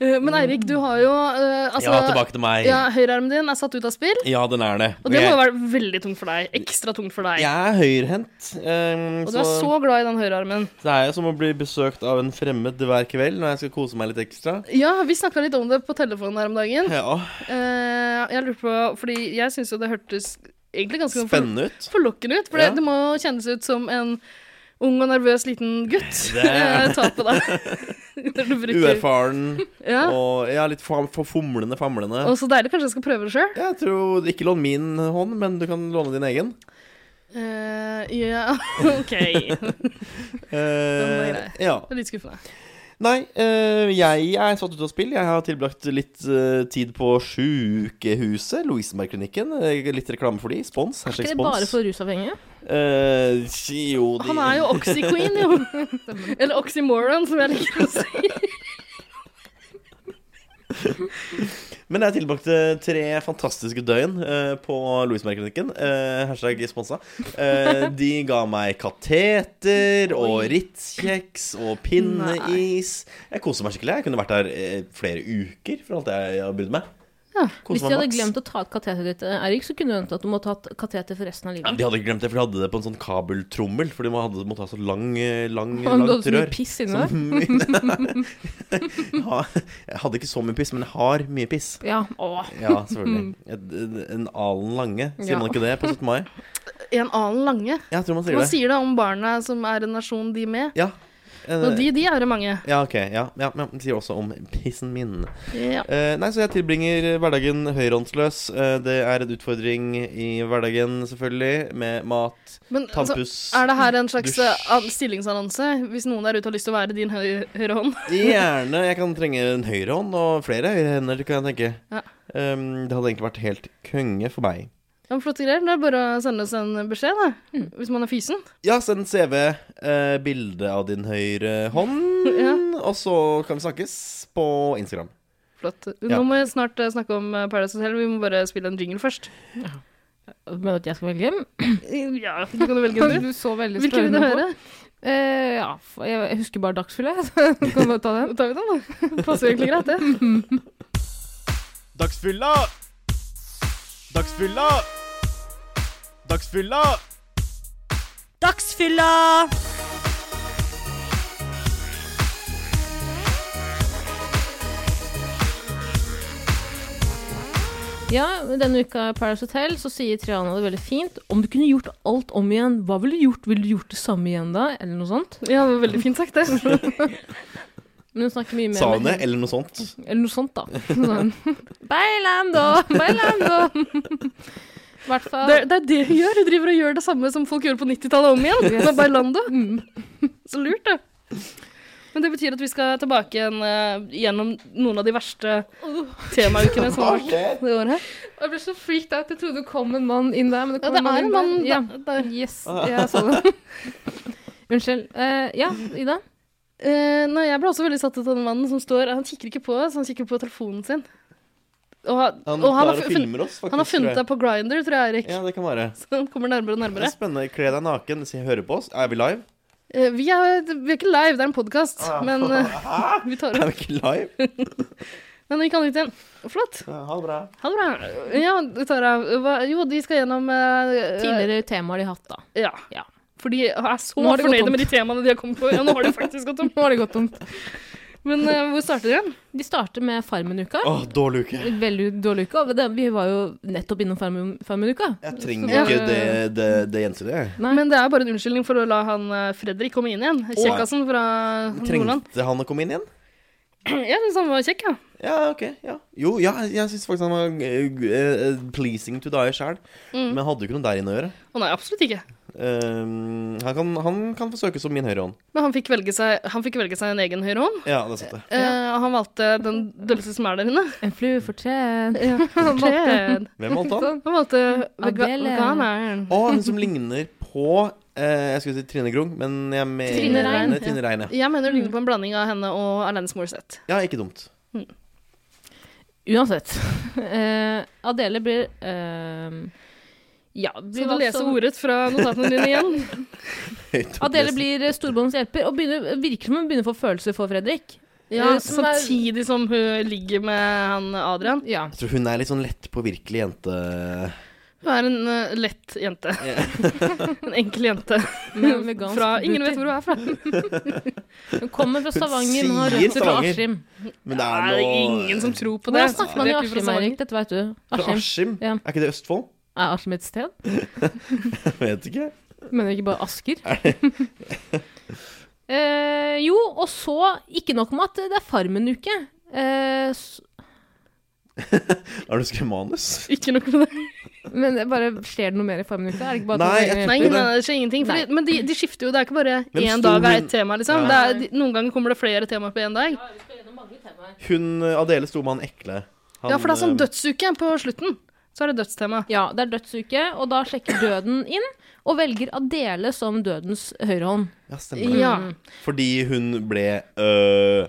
[SPEAKER 2] Eh, Men Eirik, du har jo eh, altså,
[SPEAKER 1] ja, tilbake til meg.
[SPEAKER 2] ja, høyrearmen din er satt ut av spill,
[SPEAKER 1] Ja, den er det.
[SPEAKER 2] og det må
[SPEAKER 1] Jeg-
[SPEAKER 2] jo være veldig tungt for deg. Ekstra tungt for deg.
[SPEAKER 1] Jeg er høyrehendt. ehm,
[SPEAKER 2] Og du er så glad i den høyrearmen.
[SPEAKER 1] Det er jo som å bli besøkt av en fremmed hver kveld når jeg skal kose meg litt ekstra.
[SPEAKER 2] Ja, vi snakka litt om det på telefonen her om dagen.
[SPEAKER 1] Ja,
[SPEAKER 2] Eh, jeg lurer på Fordi jeg syns jo det hørtes egentlig ganske
[SPEAKER 1] Spennende ut.
[SPEAKER 2] forlokkende ut. For
[SPEAKER 1] Ja.
[SPEAKER 2] det, det må jo kjennes ut som en ung og nervøs liten gutt
[SPEAKER 1] Det er-
[SPEAKER 2] eh, tar på deg. Når du bruker-
[SPEAKER 1] Uerfaren
[SPEAKER 2] Ja.
[SPEAKER 1] og ja, litt for, for fomlende, famlende.
[SPEAKER 2] Og så deilig. Kanskje jeg skal prøve det sjøl?
[SPEAKER 1] Jeg tror Ikke lån min hånd, men du kan låne din egen.
[SPEAKER 2] Eh, ja, OK. Det Den
[SPEAKER 1] Eh,
[SPEAKER 2] var
[SPEAKER 1] ja.
[SPEAKER 2] er litt skuffende.
[SPEAKER 1] Nei, eh, jeg er satt ut av spill. Jeg har tilbrakt litt eh, tid på sjukehuset, Lovisenbergklinikken. Eh, Litt reklame for de. Spons.
[SPEAKER 3] Er
[SPEAKER 1] Hashtag
[SPEAKER 3] ikke det bare
[SPEAKER 1] spons.
[SPEAKER 3] for rusavhengige?
[SPEAKER 1] Eh, jo, de
[SPEAKER 2] Han er jo Oxy-queen, jo. Eller Oxymoron, som jeg liker å si.
[SPEAKER 1] Men jeg tilbrakte tre fantastiske døgn eh, på Lovisenbergklinikken. Uh, hashtag sponsa. Eh, de ga meg kateter og Ritz-kjeks og pinneis. Jeg koser meg skikkelig. Jeg kunne vært der eh, flere uker, for alt jeg har brydd meg. Kose
[SPEAKER 3] Hvis
[SPEAKER 1] meg
[SPEAKER 3] de hadde
[SPEAKER 1] maks.
[SPEAKER 3] glemt å ta ut kateteret ditt, Eirik, så kunne du vente at du må ta et kateter for resten av
[SPEAKER 1] Ja, men
[SPEAKER 3] livet.
[SPEAKER 1] de hadde ikke glemt det, for de hadde det på en sånn kabeltrommel. For de hadde, måtte ha så lang, eh, lang,
[SPEAKER 3] Om du
[SPEAKER 1] langt
[SPEAKER 3] hadde så mye
[SPEAKER 1] rør.
[SPEAKER 3] piss inni deg.
[SPEAKER 1] Som- Ha- Jeg hadde ikke så mye piss, men jeg har mye piss.
[SPEAKER 3] Ja, åh.
[SPEAKER 1] Ja,
[SPEAKER 2] Mm.
[SPEAKER 1] selvfølgelig. Et- En alen lange. Sier
[SPEAKER 3] Ja.
[SPEAKER 1] man ikke det på 17. mai?
[SPEAKER 2] En annen lange.
[SPEAKER 1] Jeg tror man sier
[SPEAKER 2] Man
[SPEAKER 1] det.
[SPEAKER 2] sier det om barna som er en nasjon, de med.
[SPEAKER 1] Ja. Eh,
[SPEAKER 2] Og de, de er det mange.
[SPEAKER 1] Ja, ok. Ja, ja, men man sier også om pissen min.
[SPEAKER 2] Ja.
[SPEAKER 1] Eh, nei, så jeg tilbringer hverdagen høyrehåndsløs. Eh, det er en utfordring i hverdagen, selvfølgelig, med mat,
[SPEAKER 2] Men altså,
[SPEAKER 1] tannpuss
[SPEAKER 2] er det her en slags
[SPEAKER 1] dusj.
[SPEAKER 2] eh, an- stillingsannonse? Hvis noen der ute har lyst til å være din høy- høyre hånd?
[SPEAKER 1] Gjerne. Jeg kan trenge en høyrehånd og flere høyre hender, kan jeg tenke.
[SPEAKER 2] Ja.
[SPEAKER 1] Ehm, det hadde egentlig vært helt konge for meg.
[SPEAKER 2] Ja, men Flotte greier. Det er bare å sende oss en beskjed, da. Hvis man er fysen.
[SPEAKER 1] Ja, send CV, eh, bilde av din høyre hånd,
[SPEAKER 2] Ja.
[SPEAKER 1] og så kan vi snakkes på Instagram.
[SPEAKER 2] Flott.
[SPEAKER 1] Ja.
[SPEAKER 2] Nå må vi snart eh, snakke om eh, Paradise Hotel. Vi må bare spille en jingle først.
[SPEAKER 3] Men at jeg skal velge hjem?
[SPEAKER 2] Ja, du kan jo velge en du.
[SPEAKER 3] Du så veldig
[SPEAKER 2] Hvilken vil du
[SPEAKER 3] spørrende på.
[SPEAKER 2] høre?
[SPEAKER 3] Eh, ja, f- jeg jeg husker bare dagsfylla, jeg, så kan du bare ta den.
[SPEAKER 2] Da tar vi den, da. Passer jo egentlig greit, det.
[SPEAKER 4] Dagsfylla! Dagsfylla! Dagsfylla!
[SPEAKER 5] Dagsfylla!
[SPEAKER 3] Ja, Denne uka i Paradise Hotel så sier Triana det veldig fint. Om du kunne gjort alt om igjen, hva ville du gjort? Ville du gjort det samme igjen da? Eller noe sånt?
[SPEAKER 2] Ja, det var veldig fint sagt, det.
[SPEAKER 3] Men hun snakker mye mer
[SPEAKER 1] Sa hun
[SPEAKER 3] med-
[SPEAKER 1] det, eller noe sånt?
[SPEAKER 3] Eller noe sånt, da. Sånn. Bailando! Bailando! I hvert fall
[SPEAKER 2] Det, er- det er det hun gjør. Hun driver og gjør det samme som folk gjorde på 90-tallet om igjen. Med Bailando. Så lurt, det. Men det betyr at vi skal tilbake igjen eh, gjennom noen av de verste temaukene som har vært det året. her.
[SPEAKER 3] Jeg ble så freaked out. Jeg trodde det kom en mann inn der. Men det
[SPEAKER 2] Ja,
[SPEAKER 3] kom
[SPEAKER 2] det er
[SPEAKER 3] inn
[SPEAKER 2] en mann
[SPEAKER 3] der. Ja.
[SPEAKER 2] da- der.
[SPEAKER 3] Yes, jeg så det. Unnskyld. Eh, ja, Ida?
[SPEAKER 2] Eh, nei, jeg ble også veldig satt ut av den mannen som står Han kikker ikke på oss, han kikker på telefonen sin. Og, han-
[SPEAKER 1] Han,
[SPEAKER 2] og han, har
[SPEAKER 1] tar og
[SPEAKER 2] fu- funnet,
[SPEAKER 1] filmer oss, faktisk.
[SPEAKER 2] han har funnet
[SPEAKER 1] tror jeg.
[SPEAKER 2] deg på Grinder, tror jeg, Erik.
[SPEAKER 1] Ja, det kan være.
[SPEAKER 2] Så han kommer nærmere
[SPEAKER 1] Det
[SPEAKER 2] og
[SPEAKER 1] er
[SPEAKER 2] nærmere.
[SPEAKER 1] spennende. Kle deg naken, se, høre på oss. Er vi live?
[SPEAKER 2] Eh, vi, er, vi er ikke live, det er en podkast,
[SPEAKER 1] Ah.
[SPEAKER 2] men eh, vi tar
[SPEAKER 1] Er
[SPEAKER 2] opp.
[SPEAKER 1] vi ikke live?
[SPEAKER 2] Men vi kan litt igjen. Flott.
[SPEAKER 1] Ja, Ha det bra.
[SPEAKER 2] Ha det bra. Ja, Tara. Hva, jo, de skal gjennom eh,
[SPEAKER 3] Tidligere temaer de har hatt, da.
[SPEAKER 2] Ja.
[SPEAKER 3] Ja.
[SPEAKER 2] For de er så
[SPEAKER 3] Nå har det gått
[SPEAKER 2] fornøyde
[SPEAKER 3] tomt.
[SPEAKER 2] med de temaene de har kommet på. Ja, nå har det faktisk gått om.
[SPEAKER 3] Nå har det gått tomt.
[SPEAKER 2] Men eh, hvor starter de igjen?
[SPEAKER 3] De starter med Farmen-uka.
[SPEAKER 1] Åh, dårlig uke.
[SPEAKER 3] Veldig dårlig uke. og det- Vi var jo nettopp innom Farmen- Farmen-uka.
[SPEAKER 1] Jeg trenger
[SPEAKER 2] Ja.
[SPEAKER 1] ikke det, det, det gjensynet. jeg.
[SPEAKER 3] Nei.
[SPEAKER 2] Men det er bare en unnskyldning for å la han eh, Fredrik komme inn igjen. Kjekkasen fra Nordland.
[SPEAKER 1] Trengte han å komme inn igjen?
[SPEAKER 2] Ja, jeg synes han var kjekk, ja.
[SPEAKER 1] Ja, ok. Ja. Jo, ja, jeg syns faktisk han var eh, eh, pleasing to die sjæl.
[SPEAKER 2] Mm.
[SPEAKER 1] Men hadde jo ikke noe der inne å gjøre.
[SPEAKER 2] Å nei, absolutt ikke.
[SPEAKER 1] Ehm, han, kan, han kan forsøke som min høyrehånd.
[SPEAKER 2] Men han fikk velge seg, han fikk velge seg en egen høyre hånd.
[SPEAKER 1] Ja, det er sant, det.
[SPEAKER 2] Eh, og han valgte den dølleste som er der inne.
[SPEAKER 3] En flue for trent.
[SPEAKER 2] Ja, han valgte,
[SPEAKER 1] Hvem valgte han?
[SPEAKER 2] han valgte vega
[SPEAKER 3] Adele.
[SPEAKER 2] veganeren.
[SPEAKER 1] Å, hun som ligner på eh, Jeg skulle si Trine Grung, men jeg mener
[SPEAKER 2] Trine Rein, ja.
[SPEAKER 1] Trine Rein, ja.
[SPEAKER 2] Jeg mener det ligner på en blanding av henne og Alanis Morissette.
[SPEAKER 1] ja, ikke dumt.
[SPEAKER 3] Uansett. Eh, Adele blir eh, Ja,
[SPEAKER 2] Skal
[SPEAKER 3] blir
[SPEAKER 2] du
[SPEAKER 3] valgt
[SPEAKER 2] lese
[SPEAKER 3] som-
[SPEAKER 2] ordet fra notatene dine igjen?
[SPEAKER 1] Høyt opp,
[SPEAKER 3] Adele
[SPEAKER 1] nesten.
[SPEAKER 3] blir eh, storbåndets hjelper og begynner, virker som hun begynner å få følelser for Fredrik.
[SPEAKER 2] Ja,
[SPEAKER 3] Eh, som er-
[SPEAKER 2] Samtidig som hun ligger med han Adrian.
[SPEAKER 3] Ja.
[SPEAKER 1] Jeg tror hun er litt sånn lettpåvirkelig jente.
[SPEAKER 2] Hun er en eh, lett jente. en enkel jente.
[SPEAKER 3] Med vegansk
[SPEAKER 2] Fra, ingen vet
[SPEAKER 3] booty.
[SPEAKER 2] hvor hun er fra.
[SPEAKER 3] Hun kommer fra Stavanger, hun har
[SPEAKER 1] sier
[SPEAKER 3] røtter fra
[SPEAKER 1] Stavanger.
[SPEAKER 3] Askim.
[SPEAKER 1] Men det
[SPEAKER 2] Det
[SPEAKER 1] er
[SPEAKER 2] er
[SPEAKER 1] noe
[SPEAKER 2] ingen som tror på det.
[SPEAKER 3] Hvordan snakker man i Askim, Eirik? Dette vet du.
[SPEAKER 1] Fra
[SPEAKER 3] Askim.
[SPEAKER 1] Askim?
[SPEAKER 3] Ja.
[SPEAKER 1] Er ikke det Østfold?
[SPEAKER 3] Er Askim et sted?
[SPEAKER 1] Jeg vet ikke.
[SPEAKER 3] Mener ikke bare Asker? eh, jo, og så Ikke nok med at det er Farmen-uke. Eh, s-
[SPEAKER 1] Har du skrevet manus?
[SPEAKER 2] Ikke noe med det.
[SPEAKER 3] men det bare skjer det noe mer i Farmen-uka? Er det ikke bare
[SPEAKER 1] Nei,
[SPEAKER 3] at-
[SPEAKER 1] jeg-
[SPEAKER 2] Nei, nei, det skjer ingenting.
[SPEAKER 3] Nei.
[SPEAKER 2] Fordi, men de, de skifter jo. Det er ikke bare
[SPEAKER 1] Hvem
[SPEAKER 2] én
[SPEAKER 1] sto
[SPEAKER 2] dag er
[SPEAKER 1] hun-
[SPEAKER 2] ett tema, liksom. Det
[SPEAKER 3] Ja.
[SPEAKER 2] er, de, noen ganger kommer det flere temaer på én dag.
[SPEAKER 1] Hun eh, Adele sto med han ekle. Han,
[SPEAKER 2] Ja, for det er sånn
[SPEAKER 1] eh,
[SPEAKER 2] dødsuke på slutten. Så er det dødstema.
[SPEAKER 3] Ja, det er dødsuke, og da sjekker døden inn og velger Adele som dødens høyrehånd. Mm.
[SPEAKER 1] Ja, stemmer det.
[SPEAKER 2] Ja.
[SPEAKER 1] Fordi hun ble øh,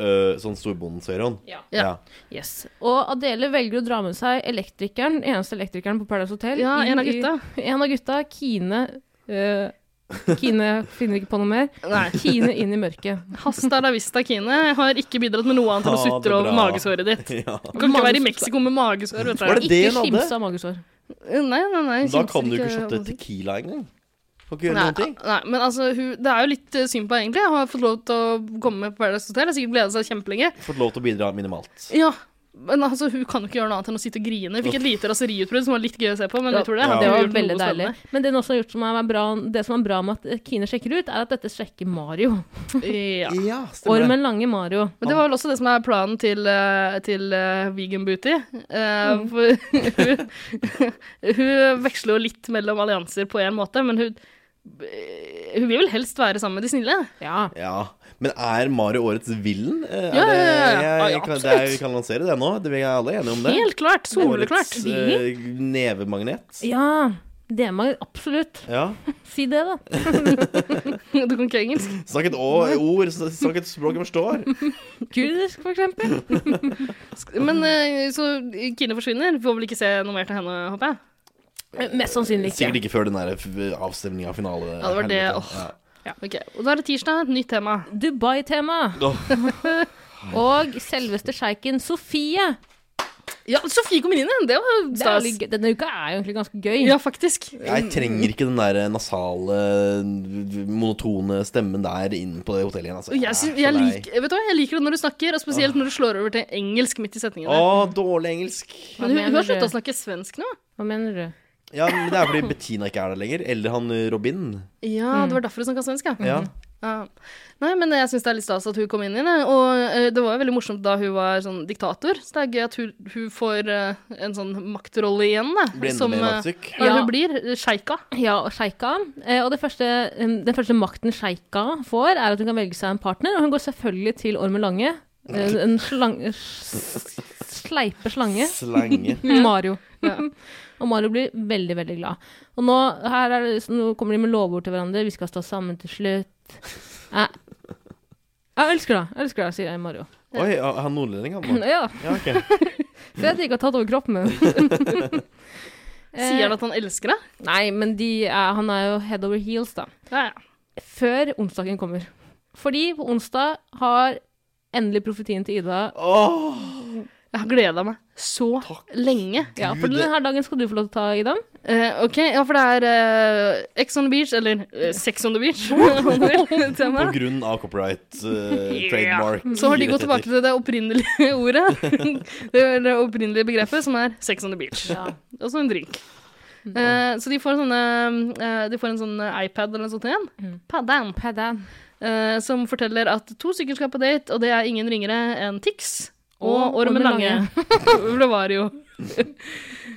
[SPEAKER 1] øh, sånn storbondens høyrehånd.
[SPEAKER 3] Ja.
[SPEAKER 2] Ja.
[SPEAKER 3] Yes. Og Adele velger å dra med seg elektrikeren, eneste elektrikeren på Paradise Hotel.
[SPEAKER 2] ja,
[SPEAKER 3] inn
[SPEAKER 2] en av
[SPEAKER 3] i-
[SPEAKER 2] gutta.
[SPEAKER 3] En av gutta, Kine eh, Kine finner ikke på noe mer.
[SPEAKER 2] Nei.
[SPEAKER 3] Kine inn i mørket.
[SPEAKER 2] Hasta la vista, Kine. Jeg har ikke bidratt med noe annet enn å
[SPEAKER 1] Ha det
[SPEAKER 2] sutre over
[SPEAKER 1] bra.
[SPEAKER 2] magesåret ditt.
[SPEAKER 1] Ja.
[SPEAKER 2] Du kan ikke være i Mexico med magesår. Vet du.
[SPEAKER 1] Var det det
[SPEAKER 3] Ikke
[SPEAKER 1] hun hadde?
[SPEAKER 3] skimse av magesår.
[SPEAKER 2] Nei, nei, nei.
[SPEAKER 1] Da
[SPEAKER 2] kimser
[SPEAKER 1] kan du ikke shotte
[SPEAKER 2] av noe.
[SPEAKER 1] Tequila engang. Får ikke gjøre
[SPEAKER 2] Nei,
[SPEAKER 1] noen ting.
[SPEAKER 2] nei, men altså, hun, det er jo litt eh, synd på henne, egentlig. Hun har fått lov til å komme med på Paradise Hotel. Hun har sikkert gleda seg kjempelenge.
[SPEAKER 1] Fått lov til å bidra minimalt.
[SPEAKER 2] Ja, men altså, hun kan jo ikke gjøre noe annet enn å sitte og grine. Hun fikk et lite raseriutbrudd som var litt gøy å se på, men
[SPEAKER 3] Ja,
[SPEAKER 2] utover
[SPEAKER 1] ja.
[SPEAKER 2] det har
[SPEAKER 3] Det
[SPEAKER 2] hun
[SPEAKER 3] var
[SPEAKER 2] gjort noe
[SPEAKER 3] veldig deilig.
[SPEAKER 2] spennende.
[SPEAKER 3] Men det, hun også har gjort som er bra, det som er bra med at Kine sjekker ut, er at dette sjekker Mario.
[SPEAKER 2] Ja.
[SPEAKER 1] Ja,
[SPEAKER 3] Ormen Lange Mario.
[SPEAKER 2] Men det var vel også det som er planen til, eh, til eh, Vegan Booty. Eh, for hun, hun veksler jo litt mellom allianser på en måte, men hun, hun vil vel helst være sammen med de snille.
[SPEAKER 3] Ja.
[SPEAKER 1] Ja, Men er Mario årets villen? Eh, er
[SPEAKER 2] Ja, ja, ja, ja.
[SPEAKER 1] det-
[SPEAKER 2] Ja,
[SPEAKER 1] Jeg,
[SPEAKER 2] ja,
[SPEAKER 1] jeg, kan- det
[SPEAKER 2] absolutt.
[SPEAKER 1] er, vi kan lansere det nå. Det, vi er alle enige om det.
[SPEAKER 2] Helt klart. Soleklart.
[SPEAKER 1] Årets eh, nevemagnet.
[SPEAKER 3] ja. D-mag, absolutt.
[SPEAKER 1] Ja.
[SPEAKER 3] Si det, da.
[SPEAKER 2] Du kan ikke engelsk.
[SPEAKER 1] Snakk et å- ord, snakk et språk jeg forstår.
[SPEAKER 3] Kurdisk, for eksempel.
[SPEAKER 2] Men eh, så Kine forsvinner. Får vel ikke se noe mer til henne, håper jeg.
[SPEAKER 3] Eh, Mest sannsynlig
[SPEAKER 1] Sikkert
[SPEAKER 3] ikke.
[SPEAKER 1] ikke før den der f- avstemninga, finale.
[SPEAKER 2] Ja, det var det,
[SPEAKER 1] helvete.
[SPEAKER 2] åh. Ok, Og da er det tirsdag. Et nytt tema.
[SPEAKER 3] Dubai-tema.
[SPEAKER 1] Ja.
[SPEAKER 3] Og selveste sjeiken Sofie.
[SPEAKER 2] Ja, Sofie kommer inn igjen! Det var
[SPEAKER 3] Det er
[SPEAKER 2] stas.
[SPEAKER 3] litt gøy. Denne uka er jo egentlig ganske gøy.
[SPEAKER 2] Ja, faktisk.
[SPEAKER 1] Jeg trenger ikke den der nasale, monotone stemmen der inn på det hotellet igjen. Altså.
[SPEAKER 2] Og jeg, synes, jeg, liker, vet du hva, jeg liker det når du snakker, og spesielt når du slår over til engelsk midt i setningene.
[SPEAKER 1] Å, dårlig engelsk.
[SPEAKER 2] Men hun,
[SPEAKER 3] Hva
[SPEAKER 2] hun
[SPEAKER 3] mener
[SPEAKER 2] har slutta
[SPEAKER 3] du?
[SPEAKER 2] å snakke svensk nå.
[SPEAKER 3] Hva mener du?
[SPEAKER 1] Ja, men Det er fordi Bettina ikke er der lenger. Eller han eh, Robin.
[SPEAKER 2] Ja, det var derfor hun snakka svensk, Mm.
[SPEAKER 1] Ja.
[SPEAKER 2] ja. Ja. Nei, men eh, jeg syns det er litt stas at hun kom inn i det. Og eh, det var jo veldig morsomt da hun var sånn diktator, så det er gøy at hun, hun får eh, en sånn maktrolle igjen, da.
[SPEAKER 1] Blir enda
[SPEAKER 2] som
[SPEAKER 1] mer
[SPEAKER 2] eh,
[SPEAKER 1] maktsyk.
[SPEAKER 2] Hva er det
[SPEAKER 3] Ja.
[SPEAKER 2] hun blir? Sjeika.
[SPEAKER 3] Ja, og sjeika. Eh, Og det første, eh, den første makten sjeika får, er at hun kan velge seg en partner, og hun går selvfølgelig til Ormen Lange. Eh, En slang... s- Sleipe slange.
[SPEAKER 1] Slange.
[SPEAKER 3] Mario.
[SPEAKER 2] Ja.
[SPEAKER 3] Og Mario blir veldig, veldig glad. Og nå, her er det, så nå kommer de med lovord til hverandre. Vi skal stå sammen til slutt. Jeg, jeg elsker deg, jeg elsker deg, sier jeg Mario.
[SPEAKER 1] Oi, er han nordlending, han da?
[SPEAKER 3] Ja,
[SPEAKER 1] Ja, ok.
[SPEAKER 3] så jeg at de ikke har tatt over kroppen min. Eh,
[SPEAKER 2] Sier han at han elsker deg?
[SPEAKER 3] Nei, men de er, han er jo head over heels, da.
[SPEAKER 2] Ja, ja.
[SPEAKER 3] før onsdagen kommer. Fordi på onsdag har endelig profetien til Ida
[SPEAKER 1] Åh,
[SPEAKER 2] Jeg har gleda meg så lenge.
[SPEAKER 3] Ja, for
[SPEAKER 1] Gud, det-
[SPEAKER 3] denne dagen skal du få lov til å ta, Ida.
[SPEAKER 2] Eh, ok, ja, for det er eh, Ex on the beach, eller eh, Sex on the beach. om du vil,
[SPEAKER 1] på
[SPEAKER 2] tema.
[SPEAKER 1] grunn av copyright, eh,
[SPEAKER 2] Ja.
[SPEAKER 1] trademark
[SPEAKER 2] Så har de gått tilbake til det opprinnelige ordet. Det, det opprinnelige begrepet, som er Sex on the beach. Og så en drink.
[SPEAKER 3] Mm.
[SPEAKER 2] Eh, så de får, sånne, eh, de får en sånn eh, iPad eller noe sånt igjen.
[SPEAKER 3] Mm.
[SPEAKER 2] Paddan.
[SPEAKER 3] Paddan.
[SPEAKER 2] Eh, som forteller at to stykker skal på date, og det er ingen ringere enn Tix og
[SPEAKER 3] Og
[SPEAKER 2] Ormen
[SPEAKER 3] Ormen
[SPEAKER 2] Lange. For det var det jo.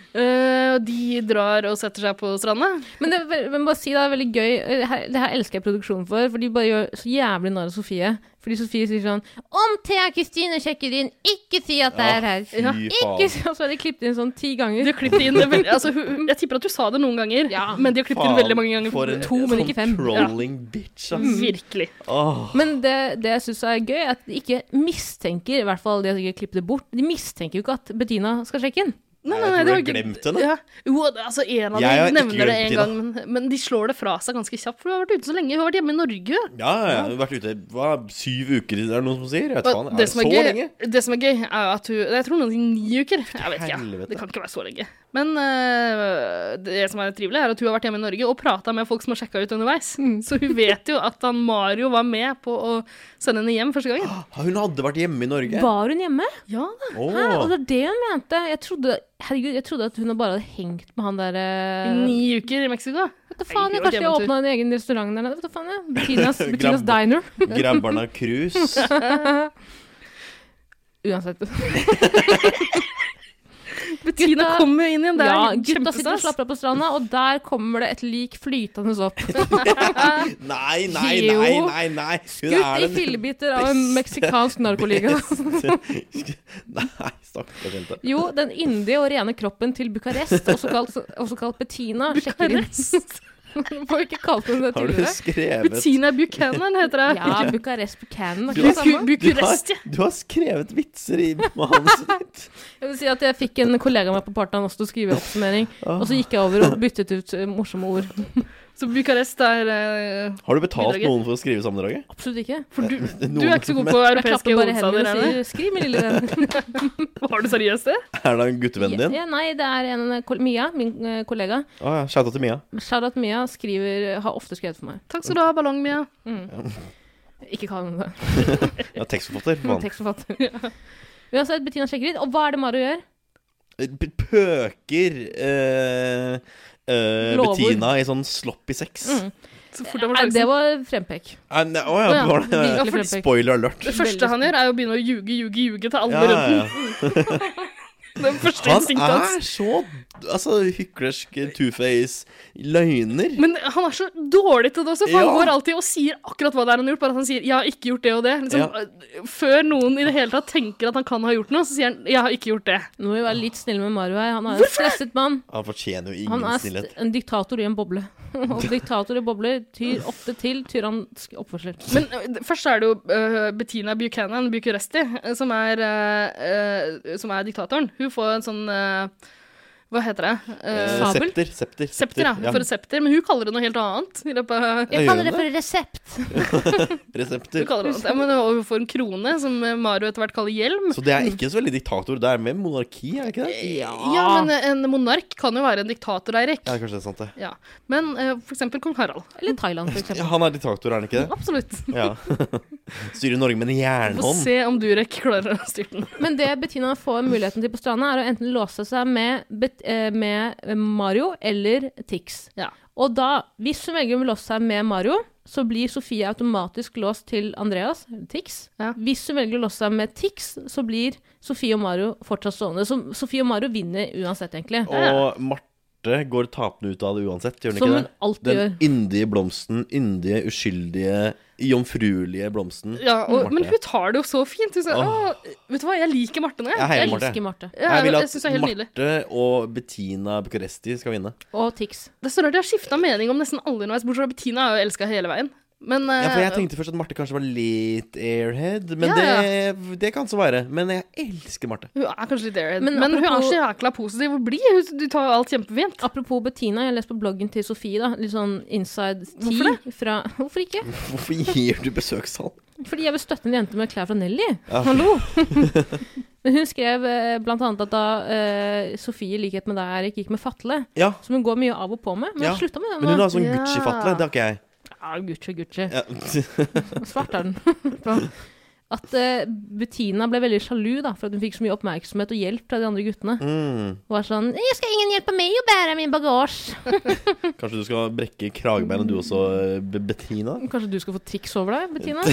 [SPEAKER 2] Eh, og de drar og setter seg på stranda.
[SPEAKER 3] Men det, er vel- men bare si det er veldig gøy. Det her, det her elsker jeg produksjonen for, for de bare gjør så jævlig narr av Sofie. Fordi Sofie sier sånn Om Thea Kristine sjekker inn, ikke si at det er her.
[SPEAKER 1] Ja, fy
[SPEAKER 3] Ikke si Og så har de klippet inn sånn ti
[SPEAKER 2] De
[SPEAKER 3] ganger.
[SPEAKER 2] har klippet inn veldig, altså, hun- Jeg tipper at du sa det noen ganger,
[SPEAKER 3] Ja.
[SPEAKER 2] men de har klippet inn veldig mange ganger.
[SPEAKER 1] For en
[SPEAKER 3] To, men ikke fem.
[SPEAKER 1] controlling bitch, ass.
[SPEAKER 2] Mhm. Virkelig.
[SPEAKER 1] Åh.
[SPEAKER 3] Men det, det jeg syns er gøy, er at de ikke mistenker, i hvert fall de har sikkert klippet det bort, de mistenker jo ikke at Bettina skal sjekke inn.
[SPEAKER 1] Nei,
[SPEAKER 2] Nei,
[SPEAKER 1] jeg
[SPEAKER 2] det
[SPEAKER 1] tror
[SPEAKER 2] var
[SPEAKER 1] jeg
[SPEAKER 2] ikke-
[SPEAKER 1] glemte henne.
[SPEAKER 2] Ja. Jo, det- altså, en av
[SPEAKER 1] Jeg har
[SPEAKER 2] dem
[SPEAKER 1] ikke
[SPEAKER 2] nevner det
[SPEAKER 1] glemt
[SPEAKER 2] en
[SPEAKER 1] Tina.
[SPEAKER 2] gang, men, men de slår det fra seg ganske kjapt, for hun har vært ute så lenge. Hun har vært hjemme i Norge.
[SPEAKER 1] Ja, ja, ja. Hun har vært ute hva, syv uker, er det noen som sier? Jeg vet faen,
[SPEAKER 2] Og
[SPEAKER 1] er
[SPEAKER 2] det,
[SPEAKER 1] det
[SPEAKER 2] som
[SPEAKER 1] så
[SPEAKER 2] er gøy,
[SPEAKER 1] lenge?
[SPEAKER 2] det som er gøy, er jo at hun Jeg tror noen sier ni uker. Jeg vet ikke.
[SPEAKER 1] helvete.
[SPEAKER 2] Det kan ikke være så lenge. Men øh, det som er trivelig, er at hun har vært hjemme i Norge og prata med folk som har sjekka ut underveis.
[SPEAKER 3] Mm.
[SPEAKER 2] Så hun vet jo at han Mario var med på å sende henne hjem første gangen.
[SPEAKER 1] Ah, Hun hadde vært hjemme i Norge.
[SPEAKER 3] Var hun hjemme?
[SPEAKER 2] Ja da.
[SPEAKER 1] Åh.
[SPEAKER 3] Hæ? Og det er det hun mente. Jeg trodde, herregud, jeg trodde at hun bare hadde hengt med han der
[SPEAKER 2] I
[SPEAKER 3] eh,
[SPEAKER 2] ni uker i Mexico.
[SPEAKER 3] Vet du faen, jeg,
[SPEAKER 2] Herregud,
[SPEAKER 3] kanskje jeg
[SPEAKER 2] hjemmetur.
[SPEAKER 3] åpna en egen restaurant der nede. Vet du faen, jeg. Bettinas, Bettinas
[SPEAKER 1] Grabb-
[SPEAKER 3] Diner.
[SPEAKER 1] Grabber'n av krus.
[SPEAKER 3] Uansett.
[SPEAKER 2] Bettina
[SPEAKER 3] Gutta-
[SPEAKER 2] kommer jo inn igjen. Det er
[SPEAKER 3] Ja, gutta sitter og
[SPEAKER 2] kjempestas.
[SPEAKER 3] slapper av på stranda, og der kommer det et lik flytende opp.
[SPEAKER 1] Nei, nei,
[SPEAKER 3] Jo.
[SPEAKER 1] nei, nei. nei. Hun
[SPEAKER 3] Skutt
[SPEAKER 1] er
[SPEAKER 3] i
[SPEAKER 1] den
[SPEAKER 3] fillebiter av en meksikansk narkoliga.
[SPEAKER 1] beste Nei, stakkars jente.
[SPEAKER 3] Jo, den yndige og rene kroppen til Bucarest, også kalt, også kalt Bettina, sjekker inn. Får ikke kalt henne det
[SPEAKER 1] Har du
[SPEAKER 3] tidligere.
[SPEAKER 1] skrevet
[SPEAKER 2] Bettina Buchanan heter hun.
[SPEAKER 3] Ja, Bucarest Buchanan.
[SPEAKER 1] Du
[SPEAKER 3] er ikke
[SPEAKER 1] har-
[SPEAKER 3] det samme?
[SPEAKER 1] du har,
[SPEAKER 2] Bucuresti.
[SPEAKER 1] du har skrevet vitser i manuset ditt.
[SPEAKER 3] Jeg vil si at jeg fikk en kollega med på partneren også til å skrive oppsummering, og så gikk jeg over og byttet ut eh, morsomme ord.
[SPEAKER 2] Så Bucarest er eh,
[SPEAKER 1] Har du betalt
[SPEAKER 2] Bidraget.
[SPEAKER 1] noen for å skrive sammendraget?
[SPEAKER 3] Absolutt ikke.
[SPEAKER 2] For du, du
[SPEAKER 1] Eh, Noen-
[SPEAKER 2] er ikke så god på
[SPEAKER 3] Jeg
[SPEAKER 2] europeiske
[SPEAKER 3] klapper bare
[SPEAKER 2] hovedstader,
[SPEAKER 3] hendene
[SPEAKER 2] er
[SPEAKER 3] og
[SPEAKER 2] du?
[SPEAKER 3] sier 'skriv, min lille venn'.
[SPEAKER 2] Har du seriøst det?
[SPEAKER 1] Er det en guttevenn din?
[SPEAKER 3] Ja, nei, det er en eh, kol- Mia, min eh, kollega.
[SPEAKER 1] Å ja, Shouta til Mia.
[SPEAKER 3] Shoutout Mia skriver, har ofte skrevet for meg. Mm.
[SPEAKER 2] Takk skal du ha, ballong, Mia.
[SPEAKER 3] Ikke kall henne det.
[SPEAKER 1] Ja, tekstforfatter.
[SPEAKER 3] Hun er
[SPEAKER 1] faen.
[SPEAKER 3] Tekstforfatter. Uansett, Bettina sjekker ut. Og hva er det Mari gjør?
[SPEAKER 1] P- Pøker eh, eh,
[SPEAKER 3] Lovord.
[SPEAKER 1] Bettina i sånn sloppy sex.
[SPEAKER 3] Mm.
[SPEAKER 2] Så fort han
[SPEAKER 3] Nei,
[SPEAKER 2] får
[SPEAKER 3] det
[SPEAKER 2] sjansen.
[SPEAKER 3] var frempek.
[SPEAKER 1] Eh, ne- Å ja,
[SPEAKER 2] Å ja,
[SPEAKER 1] var det
[SPEAKER 2] virkelig.
[SPEAKER 1] ja,
[SPEAKER 2] for
[SPEAKER 3] frempek.
[SPEAKER 1] Spoiler alert.
[SPEAKER 2] Det første han gjør, er å begynne å ljuge, ljuge, ljuge til alle
[SPEAKER 1] Ja, ja,
[SPEAKER 2] rundt.
[SPEAKER 1] ja.
[SPEAKER 2] Den første
[SPEAKER 1] Han
[SPEAKER 2] instinktet hans.
[SPEAKER 1] er så altså, hyklersk, two-face, løgner.
[SPEAKER 2] Men han er så dårlig til det også, for
[SPEAKER 1] Ja.
[SPEAKER 2] han går alltid og sier akkurat hva det er han har gjort. Bare at han sier 'jeg har ikke gjort det og det'. Liksom, øh, Før noen i det hele tatt tenker at han kan ha gjort noe, så sier han 'jeg har ikke gjort det'.
[SPEAKER 3] Nå må vi være litt snille med Mario her. Han er en stresset mann.
[SPEAKER 1] Han fortjener jo
[SPEAKER 3] Han
[SPEAKER 1] ingen
[SPEAKER 3] er
[SPEAKER 1] snillhet.
[SPEAKER 3] st- en diktator i en boble. Og diktator i bobler tyr ofte til tyransk oppførsel.
[SPEAKER 2] Men øh, det- først er det jo øh, Bettina Buchanan Bucuresti øh, som er, øh, øh, som er diktatoren. Hun får en sånn øh, Hva heter det?
[SPEAKER 1] Eh,
[SPEAKER 2] Øh,
[SPEAKER 3] Sabel?
[SPEAKER 1] septer, septer.
[SPEAKER 2] septer, ja. Hun får et septer, men hun kaller det noe helt annet. I løpet av
[SPEAKER 1] Jeg kaller det
[SPEAKER 3] for resept.
[SPEAKER 2] hun
[SPEAKER 1] Resepter.
[SPEAKER 2] kaller det noe annet. Ja, men, og hun får en krone, som øh, Mario etter hvert kaller hjelm.
[SPEAKER 1] Så det er ikke så veldig diktator. Det er mer monarki, er det ikke det?
[SPEAKER 3] Ja.
[SPEAKER 2] Ja, men øh, en monark kan jo være en diktator, Eirik.
[SPEAKER 1] Ja, kanskje det er sant, det.
[SPEAKER 2] Ja. Men eh, for eksempel kong Harald.
[SPEAKER 3] Eller Thailand, for eksempel.
[SPEAKER 1] Ja, han er diktator, er han ikke det?
[SPEAKER 2] Absolutt.
[SPEAKER 1] Ja. Styrer Norge med en
[SPEAKER 2] Få
[SPEAKER 1] jernhånd.
[SPEAKER 2] se om Durek klarer å styre den.
[SPEAKER 3] Men det Bettina får muligheten til på stranda, er å enten låse seg med, Bet- eh, med Mario eller Tix.
[SPEAKER 2] Ja.
[SPEAKER 3] Og da, hvis hun velger å låse seg med Mario, så blir Sofie automatisk låst til Andreas, Tix.
[SPEAKER 2] Ja.
[SPEAKER 3] Hvis hun velger å låse seg med Tix, så blir Sofie og Mario fortsatt stående. Så Sofie og Mario vinner uansett, egentlig.
[SPEAKER 1] Og Marte går tapende ut av det uansett, gjør hun
[SPEAKER 3] Som
[SPEAKER 1] ikke
[SPEAKER 3] hun
[SPEAKER 1] det?
[SPEAKER 3] alltid
[SPEAKER 1] Den
[SPEAKER 3] gjør.
[SPEAKER 1] yndige blomsten, yndige, uskyldige, jomfruelige blomsten.
[SPEAKER 2] Ja, og,
[SPEAKER 1] Marte.
[SPEAKER 2] men hun tar det jo så fint. Hun sier,
[SPEAKER 1] Åh.
[SPEAKER 2] «Å, vet du hva, jeg liker Marte nå, jeg.
[SPEAKER 1] Jeg heier
[SPEAKER 2] jeg,
[SPEAKER 1] Marte.
[SPEAKER 3] Elsker Marte.
[SPEAKER 2] ja,
[SPEAKER 1] jeg vil
[SPEAKER 2] jeg
[SPEAKER 1] at
[SPEAKER 2] synes det er helt nydelig.
[SPEAKER 1] Marte og Bettina Bucuresti skal vinne.
[SPEAKER 3] Og Tix.
[SPEAKER 2] Det er så rart, jeg har skifta mening om nesten alle underveis, bortsett fra Bettina har jeg jo elska hele veien. Men eh,
[SPEAKER 1] Ja, for Jeg tenkte først at Marte kanskje var litt airhead, men
[SPEAKER 2] Ja,
[SPEAKER 1] det, det kan så være. Men jeg elsker Marte.
[SPEAKER 2] hun er kanskje litt airhead. Men,
[SPEAKER 3] Men
[SPEAKER 2] hun er
[SPEAKER 3] apropos-
[SPEAKER 2] så jækla positiv og blid. Hun- Du tar jo alt kjempefint.
[SPEAKER 3] Apropos Bettina, jeg har lest på bloggen til Sofie, da. Litt sånn inside tea
[SPEAKER 2] Hvorfor
[SPEAKER 3] fra Hvorfor ikke?
[SPEAKER 1] Hvorfor gir du besøkstall?
[SPEAKER 3] Fordi jeg vil støtte en jente med klær fra Nelly.
[SPEAKER 1] Ja.
[SPEAKER 3] Hallo! Men hun skrev eh, blant annet at da eh, Sofie, i likhet med deg, Erik, gikk med fatle,
[SPEAKER 1] Ja,
[SPEAKER 3] som hun går mye av og på med, men
[SPEAKER 1] Ja.
[SPEAKER 3] hun slutta med det
[SPEAKER 1] men hun
[SPEAKER 3] nå.
[SPEAKER 1] har sånn
[SPEAKER 2] Ja.
[SPEAKER 1] Gucci-fatle. Det har ikke jeg.
[SPEAKER 3] Ja, Gucci, Gucci.
[SPEAKER 1] Ja.
[SPEAKER 3] Svart er den. På- at eh, Bettina ble veldig sjalu da, for at hun fikk så mye oppmerksomhet og hjelp fra de andre guttene.
[SPEAKER 1] Mm.
[SPEAKER 3] Hun var sånn 'Jeg skal ingen hjelpe meg å bære min bagasje'.
[SPEAKER 1] Kanskje du skal brekke kragebeinet du også, eh, Be- Bettina?
[SPEAKER 3] Kanskje du skal få triks over deg, Bettina?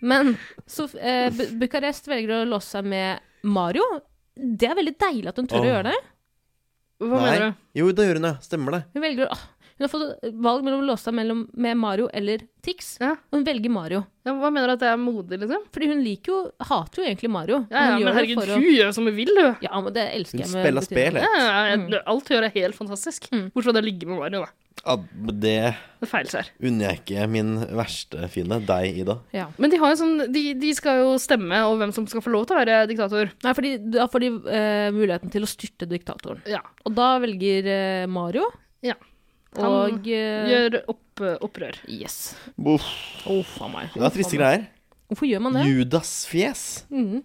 [SPEAKER 3] Men så, eh, Bu- Bucarest velger å låse seg med Mario. Det er veldig deilig at hun tør å
[SPEAKER 1] Åh.
[SPEAKER 3] gjøre det.
[SPEAKER 2] Hva mener du?
[SPEAKER 1] Jo, det gjør hun, ja. Stemmer det.
[SPEAKER 3] Hun, velger, å- ah, hun har fått valg mellom å låse seg mellom, med Mario eller Tix,
[SPEAKER 2] Ja.
[SPEAKER 3] og hun velger Mario.
[SPEAKER 2] Ja, hva mener du at det er modig, liksom?
[SPEAKER 3] Fordi hun liker jo, hater jo egentlig Mario.
[SPEAKER 2] Ja, ja,
[SPEAKER 3] hun
[SPEAKER 2] men
[SPEAKER 3] det
[SPEAKER 2] herregud,
[SPEAKER 3] for å-
[SPEAKER 2] hun gjør som hun vil, hun.
[SPEAKER 3] Ja, men det
[SPEAKER 1] Hun
[SPEAKER 3] elsker jeg med
[SPEAKER 1] spiller
[SPEAKER 3] Bettina.
[SPEAKER 1] spel,
[SPEAKER 2] Ja,
[SPEAKER 1] jeg.
[SPEAKER 2] ja, ja, alt hun gjør er helt fantastisk.
[SPEAKER 3] Mm.
[SPEAKER 2] Bortsett fra det å ligge med Mario, da.
[SPEAKER 1] Ja, det
[SPEAKER 2] Det feilskjær.
[SPEAKER 1] unner jeg ikke min verste fiende. Deg, Ida.
[SPEAKER 3] Ja.
[SPEAKER 2] Men de, har jo sånn, de, de skal jo stemme over hvem som skal få lov til å være diktator.
[SPEAKER 3] Nei, fordi da får de eh, muligheten til å styrte diktatoren.
[SPEAKER 2] Ja.
[SPEAKER 3] Og da velger eh, Mario.
[SPEAKER 2] Ja. Han
[SPEAKER 3] Og eh,
[SPEAKER 2] Gjør opp, opprør.
[SPEAKER 3] Yes.
[SPEAKER 1] Uff,
[SPEAKER 3] Å, faen meg.
[SPEAKER 1] det var triste greier.
[SPEAKER 3] Hvorfor gjør man det? Mm.
[SPEAKER 1] Judas-fjes.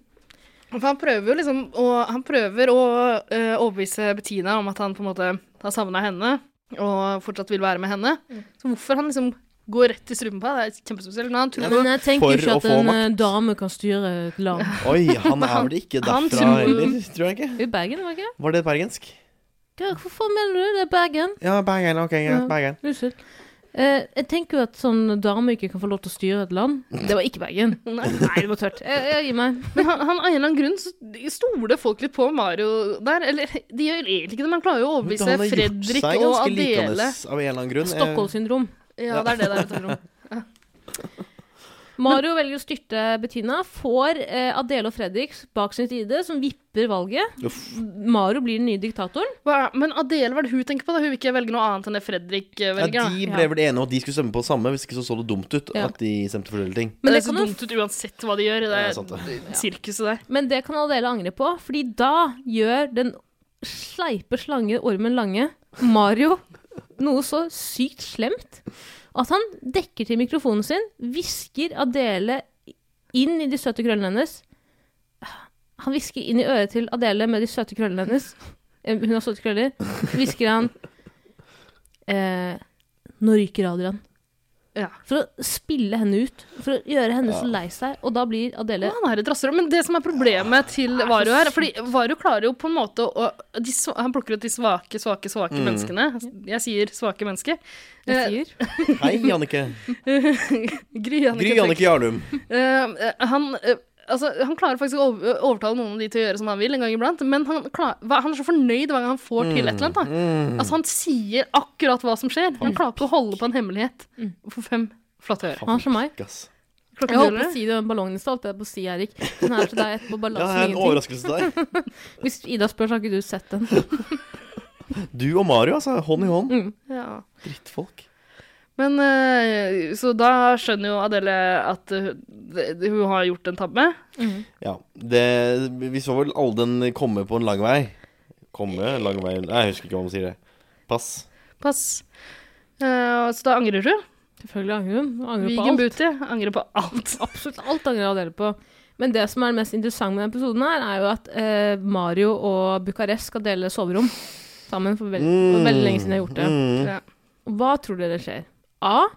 [SPEAKER 2] For han prøver jo liksom å, han prøver å eh, overbevise Bettina om at han på en måte har savna henne og fortsatt vil være med henne. Så hvorfor han liksom går rett i strupen på henne, det er kjempespesielt. Men han tror,
[SPEAKER 3] Ja, men jeg tenker
[SPEAKER 1] For
[SPEAKER 3] ikke
[SPEAKER 1] å
[SPEAKER 3] at
[SPEAKER 1] få
[SPEAKER 3] en
[SPEAKER 1] makt.
[SPEAKER 3] eh, dame kan styre et land.
[SPEAKER 1] Oi, han er vel ikke
[SPEAKER 2] Han
[SPEAKER 1] derfra
[SPEAKER 2] tror-
[SPEAKER 1] heller, tror jeg ikke.
[SPEAKER 3] I Bergen, var det ikke?
[SPEAKER 1] Var det bergensk?
[SPEAKER 3] Hva- Hvorfor mener du det? er Bergen?
[SPEAKER 1] Ja, Bergen. Ok, greit.
[SPEAKER 3] Ja.
[SPEAKER 1] Bergen.
[SPEAKER 3] Unnskyld. Eh, jeg tenker jo at sånn dame ikke kan få lov til å styre et land. Det var ikke Bergen.
[SPEAKER 2] Nei.
[SPEAKER 3] Nei, det var tørt. Jeg, jeg gir meg.
[SPEAKER 2] men han, han, av en eller annen grunn så stoler folk litt på Mario der. Eller de gjør egentlig ikke det, men han klarer jo å
[SPEAKER 1] Men
[SPEAKER 2] overbevise
[SPEAKER 1] har gjort
[SPEAKER 2] Fredrik
[SPEAKER 1] seg
[SPEAKER 2] og
[SPEAKER 1] ganske
[SPEAKER 2] Adele.
[SPEAKER 1] likandes Av en eller annen grunn. Eh,
[SPEAKER 3] Stockholm-syndrom.
[SPEAKER 2] Ja, det er det det er. vet du, Trond.
[SPEAKER 3] Mario velger å styrte Bettina. Får eh, Adele og Fredrik bak sin side, som vipper valget.
[SPEAKER 1] Uff.
[SPEAKER 3] Mario blir den nye diktatoren.
[SPEAKER 2] Hva er- Men Adele, hva er det hun tenker på? da? Hun vil ikke velge noe annet enn det Fredrik eh,
[SPEAKER 1] Ja,
[SPEAKER 2] velger. da.
[SPEAKER 1] de ble vel enige, og de skulle stemme på samme, hvis ikke så så det dumt ut
[SPEAKER 3] Ja.
[SPEAKER 1] at de stemte for forskjellige ting. Eh,
[SPEAKER 3] Men
[SPEAKER 2] det,
[SPEAKER 3] det
[SPEAKER 2] ser
[SPEAKER 3] kan hun
[SPEAKER 2] dumt ut uansett hva de gjør i det,
[SPEAKER 1] Ja, sant det.
[SPEAKER 2] sirkuset der.
[SPEAKER 3] Men det kan Adele angre på, fordi da gjør den sleipe slange Ormen Lange Mario noe så sykt slemt at han dekker til mikrofonen sin, hvisker Adele inn i de søte krøllene hennes. Han hvisker inn i øret til Adele med de søte krøllene hennes. Eh, Hun har søte krøller. Hvisker han eh, Nå ryker radioen.
[SPEAKER 2] Ja.
[SPEAKER 3] For å spille henne ut. For å gjøre henne så lei seg. Og da blir Adele
[SPEAKER 2] Ja, han er et rasshøl. Men det som er problemet til Varu her Fordi Varu klarer jo på en måte å de, sva- Han plukker ut de svake, svake, svake
[SPEAKER 1] Mm.
[SPEAKER 2] menneskene. Altså, Jeg sier svake mennesker.
[SPEAKER 3] Jeg
[SPEAKER 2] Eh,
[SPEAKER 3] sier
[SPEAKER 1] Hei, Jannicke.
[SPEAKER 2] Gry
[SPEAKER 1] Gry
[SPEAKER 2] Jannicke.
[SPEAKER 1] Jannicke Jarlum.
[SPEAKER 2] Eh, eh, han, eh, altså, han klarer faktisk å over- eh, overtale noen av de til å gjøre som han vil, en gang iblant. Men han, klar, hva- han er så fornøyd hver gang han får til et eller annet. Da.
[SPEAKER 1] Mm.
[SPEAKER 2] Altså, han sier akkurat hva som skjer. Han klarer ikke å holde på en hemmelighet for fem flate øre.
[SPEAKER 3] Han er som meg.
[SPEAKER 1] Fuck, ass.
[SPEAKER 2] Klokken
[SPEAKER 3] Mm. Jeg holdt på å
[SPEAKER 2] ruller.
[SPEAKER 3] si det om ballongen i stad. holdt jeg på å si, Erik. Den er til deg etterpå.
[SPEAKER 1] Ja, jeg
[SPEAKER 3] Balansen
[SPEAKER 1] har en
[SPEAKER 3] ingenting.
[SPEAKER 1] overraskelse til deg.
[SPEAKER 3] Hvis Ida spør, så har ikke du sett den.
[SPEAKER 1] Du og Mario, altså. Hånd i
[SPEAKER 2] Mm.
[SPEAKER 1] hånd.
[SPEAKER 3] Mm.
[SPEAKER 2] Ja.
[SPEAKER 1] Drittfolk.
[SPEAKER 2] Men eh, Så da skjønner jo Adele at eh, det- det- hun har gjort en tabbe.
[SPEAKER 3] Mm.
[SPEAKER 1] Ja. Det, vi så vel alle den komme på en lang vei. Komme lang vei Nei, jeg husker ikke hva man sier det. Pass.
[SPEAKER 2] Pass. Eh, så da angrer hun.
[SPEAKER 3] Selvfølgelig angrer hun. Hun Angrer på
[SPEAKER 2] Vigen
[SPEAKER 3] alt.
[SPEAKER 2] Booty angrer på alt.
[SPEAKER 3] Absolutt alt angrer Adele på. Men det som er mest interessant med denne episoden, her, er jo at eh, Mario og Bucarest skal dele soverom sammen for veld for veldig lenge siden de har gjort det.
[SPEAKER 1] Mm.
[SPEAKER 2] Ja.
[SPEAKER 3] Hva tror dere skjer? A.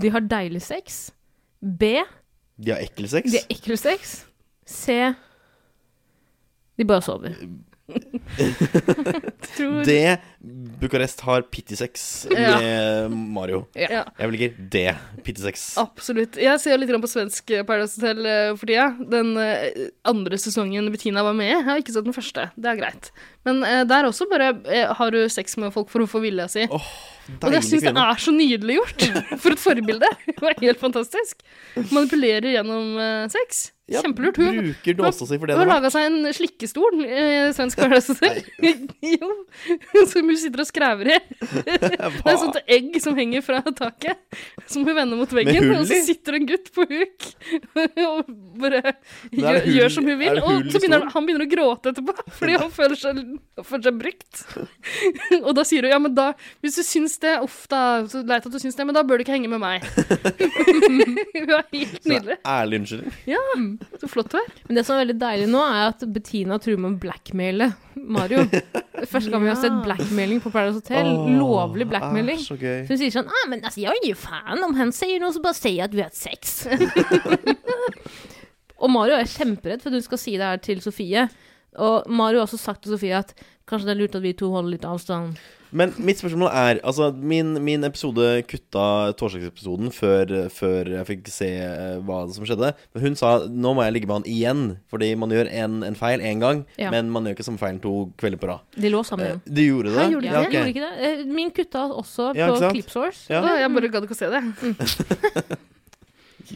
[SPEAKER 3] De har deilig sex. B.
[SPEAKER 1] De har ekkel sex.
[SPEAKER 3] De har ekkel sex. C. De bare sover.
[SPEAKER 2] Tror
[SPEAKER 1] Det Bucarest har pitty-sex
[SPEAKER 2] Ja.
[SPEAKER 1] med Mario.
[SPEAKER 2] Ja.
[SPEAKER 1] Jeg velger det. Pitty-sex.
[SPEAKER 2] Absolutt. Jeg ser litt grann på svensk Paradise Hotel eh, for tida. Den eh, andre sesongen Bettina var med i. Jeg har ikke sett den første. Det er greit. Men eh, der også bare eh, har du sex med folk for å få vilja si.
[SPEAKER 1] Åh,
[SPEAKER 2] Og jeg
[SPEAKER 1] deilig
[SPEAKER 2] syns det
[SPEAKER 1] kvinne.
[SPEAKER 2] er så nydelig gjort! For et forbilde! Det var helt fantastisk. Manipulerer gjennom eh, sex.
[SPEAKER 1] Ja,
[SPEAKER 2] Kjempelurt. Hun,
[SPEAKER 1] Bruker dåsa si for det
[SPEAKER 2] hun har
[SPEAKER 1] det var.
[SPEAKER 2] laga seg en slikkestol, eh, svensk Paradise Hotel. jo, som hun sitter og skræver i. Det er sånn et sånt egg som henger fra taket, som hun vender mot veggen.
[SPEAKER 1] hull
[SPEAKER 2] Og så
[SPEAKER 1] i?
[SPEAKER 2] sitter en gutt på huk og bare gjør,
[SPEAKER 1] hull-
[SPEAKER 2] gjør som hun
[SPEAKER 1] er
[SPEAKER 2] vil.
[SPEAKER 1] det hull
[SPEAKER 2] Og
[SPEAKER 1] i
[SPEAKER 2] så begynner
[SPEAKER 1] stolen?
[SPEAKER 2] han, han begynner å gråte etterpå, fordi han føler seg, han føler seg brukt. Og da sier hun ja, men da Hvis du syns det, uff da, så leit at du syns det, men da bør du ikke henge med meg. Hun er helt nydelig.
[SPEAKER 1] Ærlig unnskyldning.
[SPEAKER 2] Så flott du er.
[SPEAKER 3] Men det som er veldig deilig nå, er at Bettina truer med å blackmaile Mario. Første gang vi har sett
[SPEAKER 2] Ja.
[SPEAKER 3] blackmailing på Paradise Hotel.
[SPEAKER 1] Åh,
[SPEAKER 3] lovlig
[SPEAKER 1] er
[SPEAKER 3] blackmailing.
[SPEAKER 1] Så gøy.
[SPEAKER 3] Så hun sier sånn ah, men altså, 'Jeg gir faen om han sier noe, så bare sier jeg at vi har hatt sex'. og Mario er kjemperedd for at hun skal si det her til Sofie. Og Mario har også sagt til Sofie at kanskje det er lurt at vi to holder litt avstand.
[SPEAKER 1] Men mitt spørsmål er Altså, min, min episode kutta torsdagsepisoden før, før jeg fikk se eh, hva som skjedde. Men hun sa nå må jeg ligge med han igjen, fordi man gjør en, en feil én gang,
[SPEAKER 3] Ja.
[SPEAKER 1] men man gjør ikke samme feilen to kvelder på rad.
[SPEAKER 3] De lå
[SPEAKER 1] Eh,
[SPEAKER 3] sammen igjen.
[SPEAKER 1] De gjorde det?
[SPEAKER 2] Hæ, gjorde de
[SPEAKER 1] ja,
[SPEAKER 3] Jeg
[SPEAKER 1] ok.
[SPEAKER 3] gjorde ikke det. Eh, Min kutta også
[SPEAKER 1] Ja, ikke
[SPEAKER 3] på
[SPEAKER 1] sant?
[SPEAKER 3] Clipsource.
[SPEAKER 1] Ja.
[SPEAKER 2] Å, jeg bare gadd ikke å se det.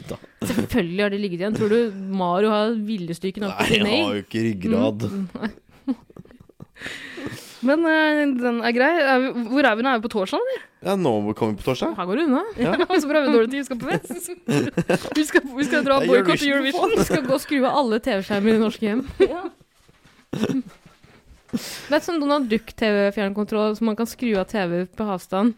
[SPEAKER 1] Da.
[SPEAKER 3] Selvfølgelig har de ligget igjen. Tror du Mario har viljestykke nok
[SPEAKER 1] Nei,
[SPEAKER 3] til
[SPEAKER 1] jeg
[SPEAKER 3] nei?
[SPEAKER 1] har jo ikke ryggrad.
[SPEAKER 2] Mm. Men eh, den er grei. Er vi- Hvor er vi nå? Er vi på torsdag? eller?
[SPEAKER 1] Ja, nå kommer vi på torsdag.
[SPEAKER 3] Her går det unna.
[SPEAKER 2] Så bra vi har dårlig tid, vi skal på fest. Vi skal, vi skal dra og
[SPEAKER 1] Det er
[SPEAKER 2] boikotte
[SPEAKER 1] Eurovision.
[SPEAKER 2] Eurovision.
[SPEAKER 3] Vi skal gå og skru av alle TV-skjermer i norske hjem. Det er sånn Donald Duck-TV-fjernkontroll som man kan skru av TV på avstand.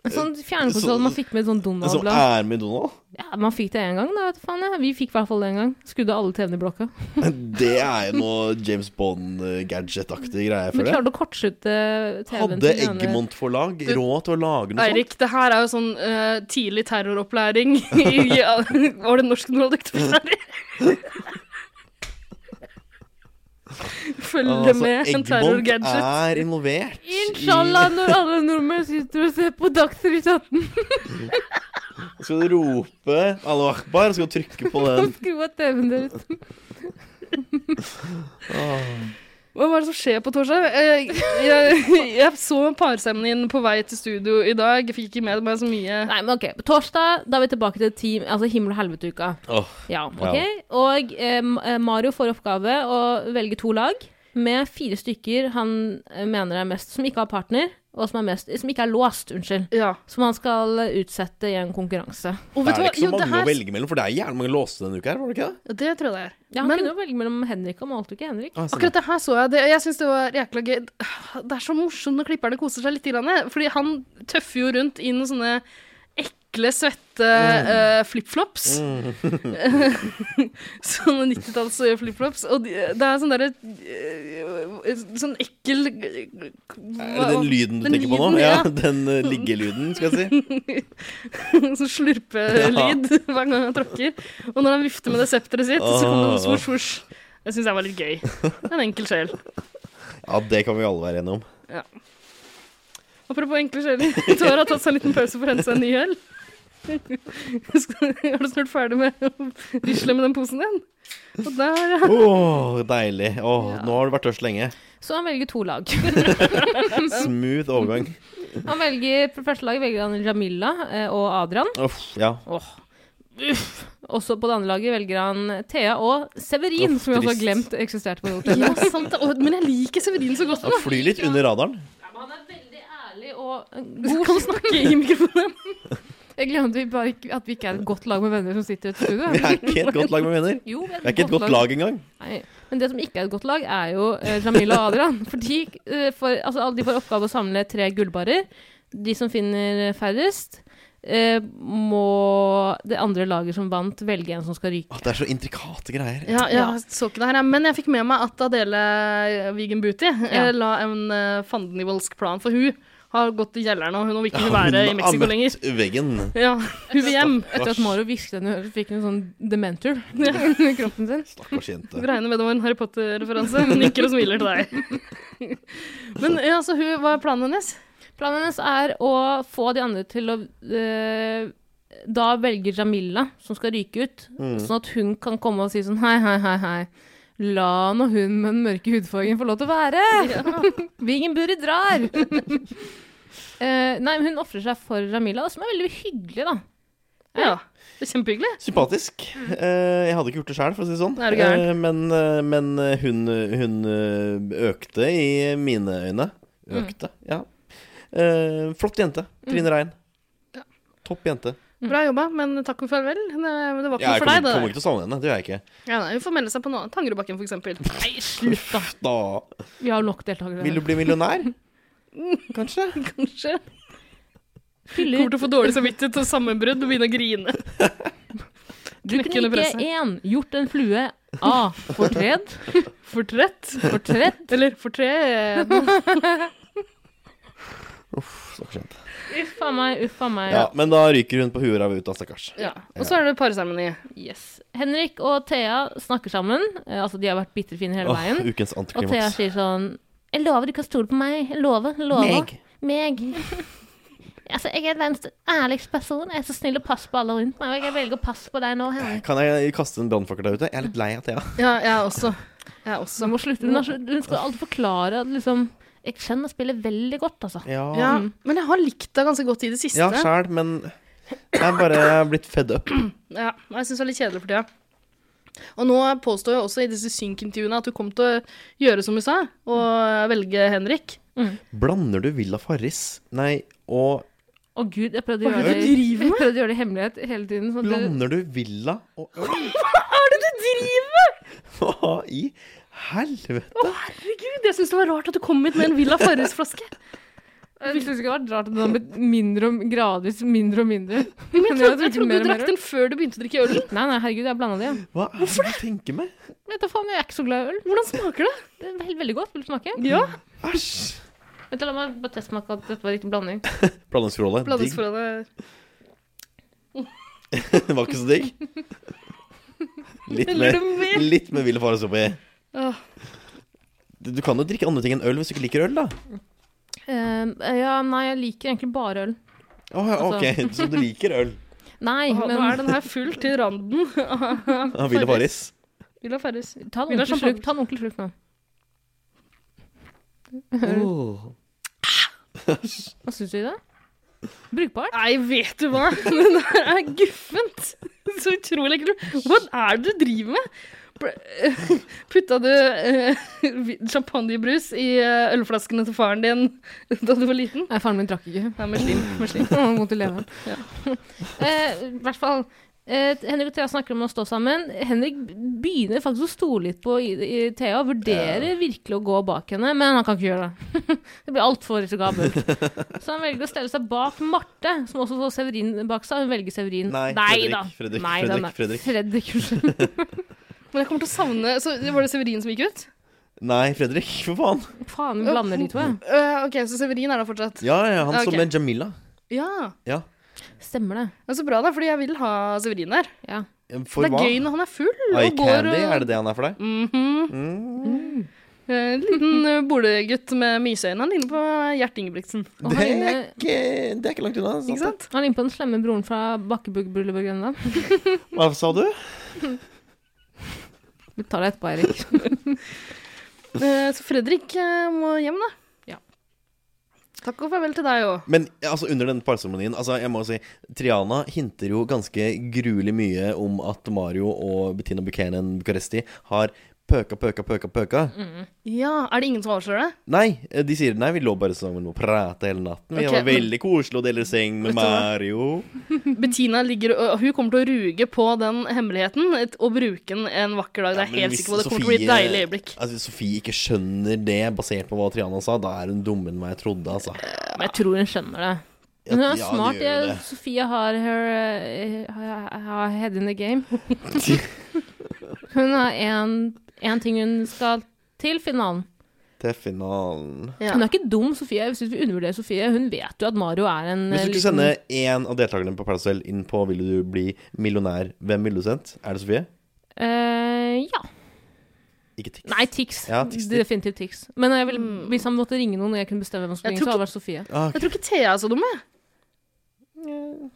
[SPEAKER 3] En sånn fjernkontroll
[SPEAKER 1] Eh, Så- sånn
[SPEAKER 3] man fikk med et sånt
[SPEAKER 1] Det som
[SPEAKER 3] Donald-blad.
[SPEAKER 1] er med Donald,
[SPEAKER 3] Ja, man fikk det én gang, da. vet du faen. Ja. Vi fikk i hvert fall det én gang. Skrudde av alle TV-ene i blokka.
[SPEAKER 1] det er jo noe James Bond-gadget-aktig greie
[SPEAKER 3] Vi
[SPEAKER 1] for det.
[SPEAKER 3] klarte å kortslutte eh, TV-en
[SPEAKER 1] Hadde
[SPEAKER 3] til den ene.
[SPEAKER 1] Eggemont-forlag råd til å lage noe sånt?
[SPEAKER 2] Eirik, det her er jo sånn eh, tidlig terroropplæring i ja, Var det norsk nådektorer? Følg det med, en
[SPEAKER 1] Eggemont
[SPEAKER 2] terrorgadget.
[SPEAKER 1] altså, er involvert
[SPEAKER 3] Inshallah, når alle nordmenn sitter og ser på Dagsnytt 18
[SPEAKER 1] i Skal du rope Allahu akbar, og skal du trykke på den
[SPEAKER 3] og skru av TV-en deres.
[SPEAKER 2] Hva var det som skjer på torsdag? Eh, jeg, jeg så parseremonien på vei til studio i dag. Jeg fikk ikke med meg så mye.
[SPEAKER 3] Nei, men ok. På torsdag da er vi tilbake til team, altså himmel- og helvete-uka.
[SPEAKER 1] Åh,
[SPEAKER 3] Ja, ok. Og eh, Ma- eh, Mario får oppgave å velge to lag med fire stykker han eh, mener er mest, som ikke har partner, og som, er mest, som ikke er låst, unnskyld.
[SPEAKER 2] Ja.
[SPEAKER 3] Som man skal eh, utsette i en konkurranse.
[SPEAKER 2] Og
[SPEAKER 1] Det
[SPEAKER 2] vet
[SPEAKER 1] er
[SPEAKER 2] du hva?
[SPEAKER 1] ikke så
[SPEAKER 2] Jo, det
[SPEAKER 1] mange å
[SPEAKER 2] her
[SPEAKER 1] velge mellom, for det er jævlig mange låste denne uka her, var det ikke det?
[SPEAKER 2] Ja, Det tror jeg det er.
[SPEAKER 3] Ja, han
[SPEAKER 2] Men-
[SPEAKER 3] kunne jo velge mellom Henrik, han valgte jo ikke Henrik.
[SPEAKER 1] Ah, sånn,
[SPEAKER 2] Akkurat det her så jeg. Det, jeg syns det var jækla gøy. Det er så morsomt når klipperne koser seg litt. Grann, eh, fordi han tøffer jo rundt i noen sånne ekle, svette
[SPEAKER 1] Mm.
[SPEAKER 2] eh, flipflops. sånne 90-talls flipflops. Og de, det er sånn derre eh, Sånn ekkel
[SPEAKER 1] Er det den lyden du
[SPEAKER 2] Den
[SPEAKER 1] tenker på nå?
[SPEAKER 2] lyden,
[SPEAKER 1] Ja,
[SPEAKER 2] ja.
[SPEAKER 1] Den eh, liggelyden, skal jeg si.
[SPEAKER 2] Sånn slurpelyd hver gang han tråkker. Og når han vifter med det septeret sitt, så kommer det svosj, svosj. Det syns jeg var litt gøy. En enkel sjel.
[SPEAKER 1] Ja, det kan vi alle være enige om.
[SPEAKER 2] Apropos enkle sjeler. Tore har tatt seg en liten pause for å hente seg en ny øl. Skal- Er du snart ferdig med å risle med den posen din? Og der, ja.
[SPEAKER 1] Åh, deilig. Åh,
[SPEAKER 2] Ja.
[SPEAKER 1] Nå har du vært tørst lenge.
[SPEAKER 3] Så han velger to lag.
[SPEAKER 1] Smooth overgang.
[SPEAKER 3] Han velger, på første laget velger han Jamila eh, og Adrian.
[SPEAKER 1] Uff, ja.
[SPEAKER 3] Åh. Uff. Også på det andre laget velger han Thea og Severin,
[SPEAKER 1] Åh,
[SPEAKER 3] som jeg også har
[SPEAKER 1] trist.
[SPEAKER 3] glemt eksisterte på det hotellet.
[SPEAKER 2] ja sant, det. Å, men jeg liker Severin så godt.
[SPEAKER 1] Ja, Fly litt under radaren.
[SPEAKER 3] Han er veldig ærlig og eh,
[SPEAKER 2] Du kan snakke i mikrofonen.
[SPEAKER 3] Jeg glemte vi bare ikke, at vi ikke er et godt lag med venner som sitter i et studio.
[SPEAKER 1] Vi er ikke et godt lag med venner.
[SPEAKER 3] Jo, vi er
[SPEAKER 1] Vi er ikke et godt lag engang.
[SPEAKER 3] Nei. Men det som ikke er et godt lag, er jo eh, Jamila og Adrian. For de, eh, får- altså, alle de får oppgave å samle tre gullbarer. De som finner færrest, eh, må det andre laget som vant, velge en som skal ryke.
[SPEAKER 1] Åh, det er så intrikate greier.
[SPEAKER 2] Ja, jeg så ikke det her, jeg. men jeg fikk med meg at Adele Wigen Booty eh, la en eh, fandenivoldsk plan, for hun har gått i kjelleren, og hun vil ikke være i Mexico lenger.
[SPEAKER 1] veggen.
[SPEAKER 2] Ja, hun vil hjem.
[SPEAKER 3] Etter at Mario hvisket henne i øret, fikk hun en sånn dementor liksom, sånn. i kroppen sin.
[SPEAKER 1] Stakkars jente.
[SPEAKER 2] Regner med det var en Harry Potter-referanse. Hun Nikker og smiler til deg. Men ja, så hun, hva er planen hennes?
[SPEAKER 3] Planen hennes er å få de andre til å eh, Da velger Jamila, som skal ryke ut,
[SPEAKER 1] Mm.
[SPEAKER 3] sånn at hun kan komme og si sånn hei, hei, hei, hei. La nå hun med den mørke hudfargen få lov til å være! Vingenburi drar! Eh, nei, men hun ofrer seg for Jamila, som er veldig hyggelig, da.
[SPEAKER 2] Ja, det er kjempehyggelig.
[SPEAKER 1] Sympatisk. Eh, jeg hadde ikke gjort det sjøl, for å si det sånn.
[SPEAKER 2] Er du gæren?
[SPEAKER 1] Eh, men eh, men eh, hun, hun eh, økte i mine øyne.
[SPEAKER 2] Mm.
[SPEAKER 1] Økte, ja. Eh, flott jente. Trine Rein.
[SPEAKER 2] Ja.
[SPEAKER 1] Topp jente.
[SPEAKER 2] Bra jobba, men takk og farvel. Det, det var ikke
[SPEAKER 1] Jeg
[SPEAKER 2] noe for
[SPEAKER 1] kommer,
[SPEAKER 2] deg,
[SPEAKER 1] kommer
[SPEAKER 2] det der.
[SPEAKER 1] ikke til å savne henne. Det gjør jeg ikke.
[SPEAKER 2] Ja, nei, hun får melde seg på noe annet. Tangerudbakken, for eksempel.
[SPEAKER 3] Nei, slutt, da.
[SPEAKER 1] Da
[SPEAKER 3] Vi har jo nok deltakere.
[SPEAKER 1] Vil du bli millionær? Kanskje?
[SPEAKER 2] Kanskje.
[SPEAKER 3] Fyller-
[SPEAKER 2] Kommer til å få dårlig samvittighet og sammenbrudd og begynne å grine.
[SPEAKER 3] Du
[SPEAKER 2] knekke under
[SPEAKER 3] kunne
[SPEAKER 2] presset?
[SPEAKER 3] ikke én gjort en flue A. Fortred.
[SPEAKER 2] Fortrett?
[SPEAKER 3] Fortred.
[SPEAKER 2] Eller eh, fortred?
[SPEAKER 1] Stakkars jente.
[SPEAKER 3] Uff a meg, uff a meg.
[SPEAKER 1] Ja, men da ryker hun på huet av ut, da, stakkars.
[SPEAKER 2] Ja. Og så er det parseremoni.
[SPEAKER 3] Yes. Henrik og Thea snakker sammen. Eh, altså, de har vært bitre fine hele
[SPEAKER 1] Åh,
[SPEAKER 3] veien.
[SPEAKER 1] ukens
[SPEAKER 3] Og Thea
[SPEAKER 1] antiklimaks.
[SPEAKER 3] sier sånn Jeg lover du kan stole på meg. Jeg lover. jeg lover. Meg. altså, jeg er verdens ærligste person. Jeg er så snill og passer på alle rundt meg. Og jeg velger å passe på deg nå, Henrik.
[SPEAKER 1] Kan jeg kaste en brannfakkel der ute? Jeg er litt lei av Thea.
[SPEAKER 2] Ja, jeg også. Jeg også.
[SPEAKER 3] Hun, må slutte. hun, har så- hun skal alltid forklare at liksom Jeg skjønner spillet veldig godt, altså.
[SPEAKER 2] Ja, men jeg har likt deg ganske godt i det siste.
[SPEAKER 1] Ja, sjæl, men jeg er bare jeg er blitt fed up.
[SPEAKER 2] Ja, og jeg syns det er litt kjedelig for tida. Og nå påstår jeg også i disse synkintervjuene at du kom til å gjøre som du sa, og velge Henrik.
[SPEAKER 1] Blander du Villa Farris Nei, og
[SPEAKER 3] Å gud, jeg prøvde
[SPEAKER 2] Hva
[SPEAKER 3] å gjøre
[SPEAKER 2] er det
[SPEAKER 3] det,
[SPEAKER 2] du driver
[SPEAKER 3] jeg prøvde å gjøre det i hemmelighet hele tiden. Sånn at det,
[SPEAKER 1] Blander du Villa og øl?
[SPEAKER 2] Hva er det du driver med?!
[SPEAKER 1] Hva i helvete?
[SPEAKER 2] Herregud, jeg syns det var rart at du kom hit med en Villa Farris-flaske.
[SPEAKER 3] jeg visste ikke det var rart at den har blitt mindre og gradvis mindre og mindre.
[SPEAKER 2] Men jeg
[SPEAKER 3] Men jeg har
[SPEAKER 2] trodde, jeg trodde
[SPEAKER 3] drukket mer og
[SPEAKER 2] du
[SPEAKER 3] mer
[SPEAKER 2] drakk
[SPEAKER 3] øl.
[SPEAKER 2] den før du begynte å drikke ølen.
[SPEAKER 3] Nei, nei, herregud, jeg blanda det. ja.
[SPEAKER 1] Hva er det du tenker med?
[SPEAKER 3] Vet du faen, jeg er ikke så glad i øl.
[SPEAKER 2] Hvordan smaker det?
[SPEAKER 3] Det er veld- veldig godt. Vil du smake?
[SPEAKER 2] Ja,
[SPEAKER 1] Æsj.
[SPEAKER 3] Vet du, La meg bare testsmake at dette var riktig blanding.
[SPEAKER 1] Blandingsforholdet. Digg.
[SPEAKER 2] blandes foran deg.
[SPEAKER 1] Det var ikke så digg. Litt
[SPEAKER 2] Heller
[SPEAKER 1] med,
[SPEAKER 2] du mer?
[SPEAKER 1] litt med Villa Farris oppi.
[SPEAKER 2] Åh,
[SPEAKER 1] Du du kan jo drikke andre ting enn øl hvis du ikke liker øl, da.
[SPEAKER 3] Eh, ja, nei, jeg liker egentlig bare øl.
[SPEAKER 1] Å,
[SPEAKER 2] Altså-
[SPEAKER 1] ja, ok, Så du liker øl?
[SPEAKER 3] Nei,
[SPEAKER 2] åh, Nå
[SPEAKER 3] men
[SPEAKER 2] er den her full til randen.
[SPEAKER 1] Ja, Villa Farris.
[SPEAKER 2] Villa Farris.
[SPEAKER 3] ta en
[SPEAKER 2] Vil du ha
[SPEAKER 3] ordentlig
[SPEAKER 2] champagne?
[SPEAKER 3] slurk. Ta en ordentlig slurk nå.
[SPEAKER 2] Oh.
[SPEAKER 1] Åh.
[SPEAKER 3] Hva syns du i det? Brukbart?
[SPEAKER 2] Nei, vet du hva? Den her er guffent. Så utrolig ekkelt. Hva er det du driver med? Ble- Putta du eh, vi- champagnebrus i eh, ølflaskene til faren din da du var liten?
[SPEAKER 3] Nei, faren min drakk ikke.
[SPEAKER 2] Nei, med slim. Med slim.
[SPEAKER 3] Han var Mot eleveren.
[SPEAKER 2] Ja.
[SPEAKER 3] eh, I hvert fall. Eh, Henrik og Thea snakker om å stå sammen. Henrik begynner faktisk å stole litt på i, i Thea og vurderer virkelig å gå bak henne, men han kan ikke gjøre det. det blir altfor risikabelt. Så han velger å stelle seg bak Marte, som også får Severin bak seg. Hun velger Severin.
[SPEAKER 1] Nei, Fredrik,
[SPEAKER 3] da.
[SPEAKER 1] Fredrik,
[SPEAKER 3] Nei, da,
[SPEAKER 1] Fredrik,
[SPEAKER 3] nei.
[SPEAKER 1] Fredrik.
[SPEAKER 3] Fredrik, unnskyld.
[SPEAKER 2] Men jeg kommer til å savne Så Var det Severin som gikk ut?
[SPEAKER 1] Nei, Fredrik, for faen.
[SPEAKER 3] Faen, vi blander de to, jeg.
[SPEAKER 2] Eh, OK, så Severin er der fortsatt.
[SPEAKER 1] Ja, ja, han
[SPEAKER 2] Ok.
[SPEAKER 1] står med Jamila.
[SPEAKER 2] Ja.
[SPEAKER 1] Ja.
[SPEAKER 3] Stemmer det.
[SPEAKER 2] Det er så bra, da, fordi jeg vil ha Severin der.
[SPEAKER 3] Ja.
[SPEAKER 1] For
[SPEAKER 2] det er
[SPEAKER 1] hva?
[SPEAKER 2] gøy når han er full.
[SPEAKER 1] Eye
[SPEAKER 2] og går
[SPEAKER 1] candy,
[SPEAKER 2] og-
[SPEAKER 1] er det det han er for deg?
[SPEAKER 2] Mhm.
[SPEAKER 1] Mm.
[SPEAKER 2] Eh, liten eh, bolegutt med myseøyne. Han ligner på Gjert Ingebrigtsen.
[SPEAKER 3] Og
[SPEAKER 1] Det,
[SPEAKER 3] han
[SPEAKER 1] er
[SPEAKER 3] inne-
[SPEAKER 1] ikke, det er ikke langt unna. altså. sant
[SPEAKER 2] Ikke
[SPEAKER 1] det?
[SPEAKER 2] sant?
[SPEAKER 3] Han er inne på den slemme broren fra Bakkebuggbryllup ennå.
[SPEAKER 1] Hva sa du?
[SPEAKER 3] Vi tar det etterpå, Eirik.
[SPEAKER 2] Eh, så Fredrik eh, må hjem, da.
[SPEAKER 3] Ja.
[SPEAKER 2] Takk og farvel til deg òg.
[SPEAKER 1] Men altså, under den parseremonien altså, jeg må jo si, Triana hinter jo ganske gruelig mye om at Mario og Bettina Buchanan Bucuresti har pøka, pøka, pøka, pøka.
[SPEAKER 2] Ja, er det ingen som avslører det?
[SPEAKER 1] Nei, eh, de sier nei, vi lå bare sammen og prata hele natten. Vi
[SPEAKER 2] Ok,
[SPEAKER 1] var
[SPEAKER 2] men-
[SPEAKER 1] veldig koselige og deler seng med
[SPEAKER 2] Vet du hva?
[SPEAKER 1] Mario.
[SPEAKER 2] Bettina ligger, og hun kommer til å ruge på den hemmeligheten et- og bruke den en vakker dag. Det
[SPEAKER 1] Ja,
[SPEAKER 2] er
[SPEAKER 1] men
[SPEAKER 2] jeg helt
[SPEAKER 1] hvis
[SPEAKER 2] sikker på. Det kommer til å bli et
[SPEAKER 1] Sofie-
[SPEAKER 2] deilig øyeblikk.
[SPEAKER 1] Altså, hvis Sofie ikke skjønner det, basert på hva Triana sa, da er hun dummere enn hva jeg trodde, altså.
[SPEAKER 3] Men jeg tror hun skjønner det.
[SPEAKER 1] Ja,
[SPEAKER 3] Hun er
[SPEAKER 1] ja,
[SPEAKER 3] smart.
[SPEAKER 1] det gjør jo
[SPEAKER 3] Jeg-
[SPEAKER 1] det.
[SPEAKER 3] Sofie har her eh, har- har head in the game. Hun har én ting hun skal til finalen.
[SPEAKER 1] Til finalen.
[SPEAKER 2] Ja.
[SPEAKER 3] Hun er ikke dum, Sofie. Jeg synes vi undervurderer Sofie. Hun vet jo at Mario er en
[SPEAKER 1] Hvis
[SPEAKER 3] eh,
[SPEAKER 1] du skulle sende
[SPEAKER 3] liten-
[SPEAKER 1] én av deltakerne på Paradise Hotel inn på 'Vil du bli millionær', hvem ville du sendt? Er det Sofie?
[SPEAKER 3] Eh, Ja.
[SPEAKER 1] Ikke Tix.
[SPEAKER 3] Nei, Tix.
[SPEAKER 1] Ja, Tix, Tix.
[SPEAKER 3] Definitivt Tix. Men jeg ville, hvis han måtte ringe noen og jeg kunne bestemme hvem som skulle
[SPEAKER 2] Mm. Jeg
[SPEAKER 3] ringe, så
[SPEAKER 2] tror
[SPEAKER 3] hadde det vært Sofie.
[SPEAKER 1] Ah, ok.
[SPEAKER 2] Jeg tror ikke Thea er så dum, jeg.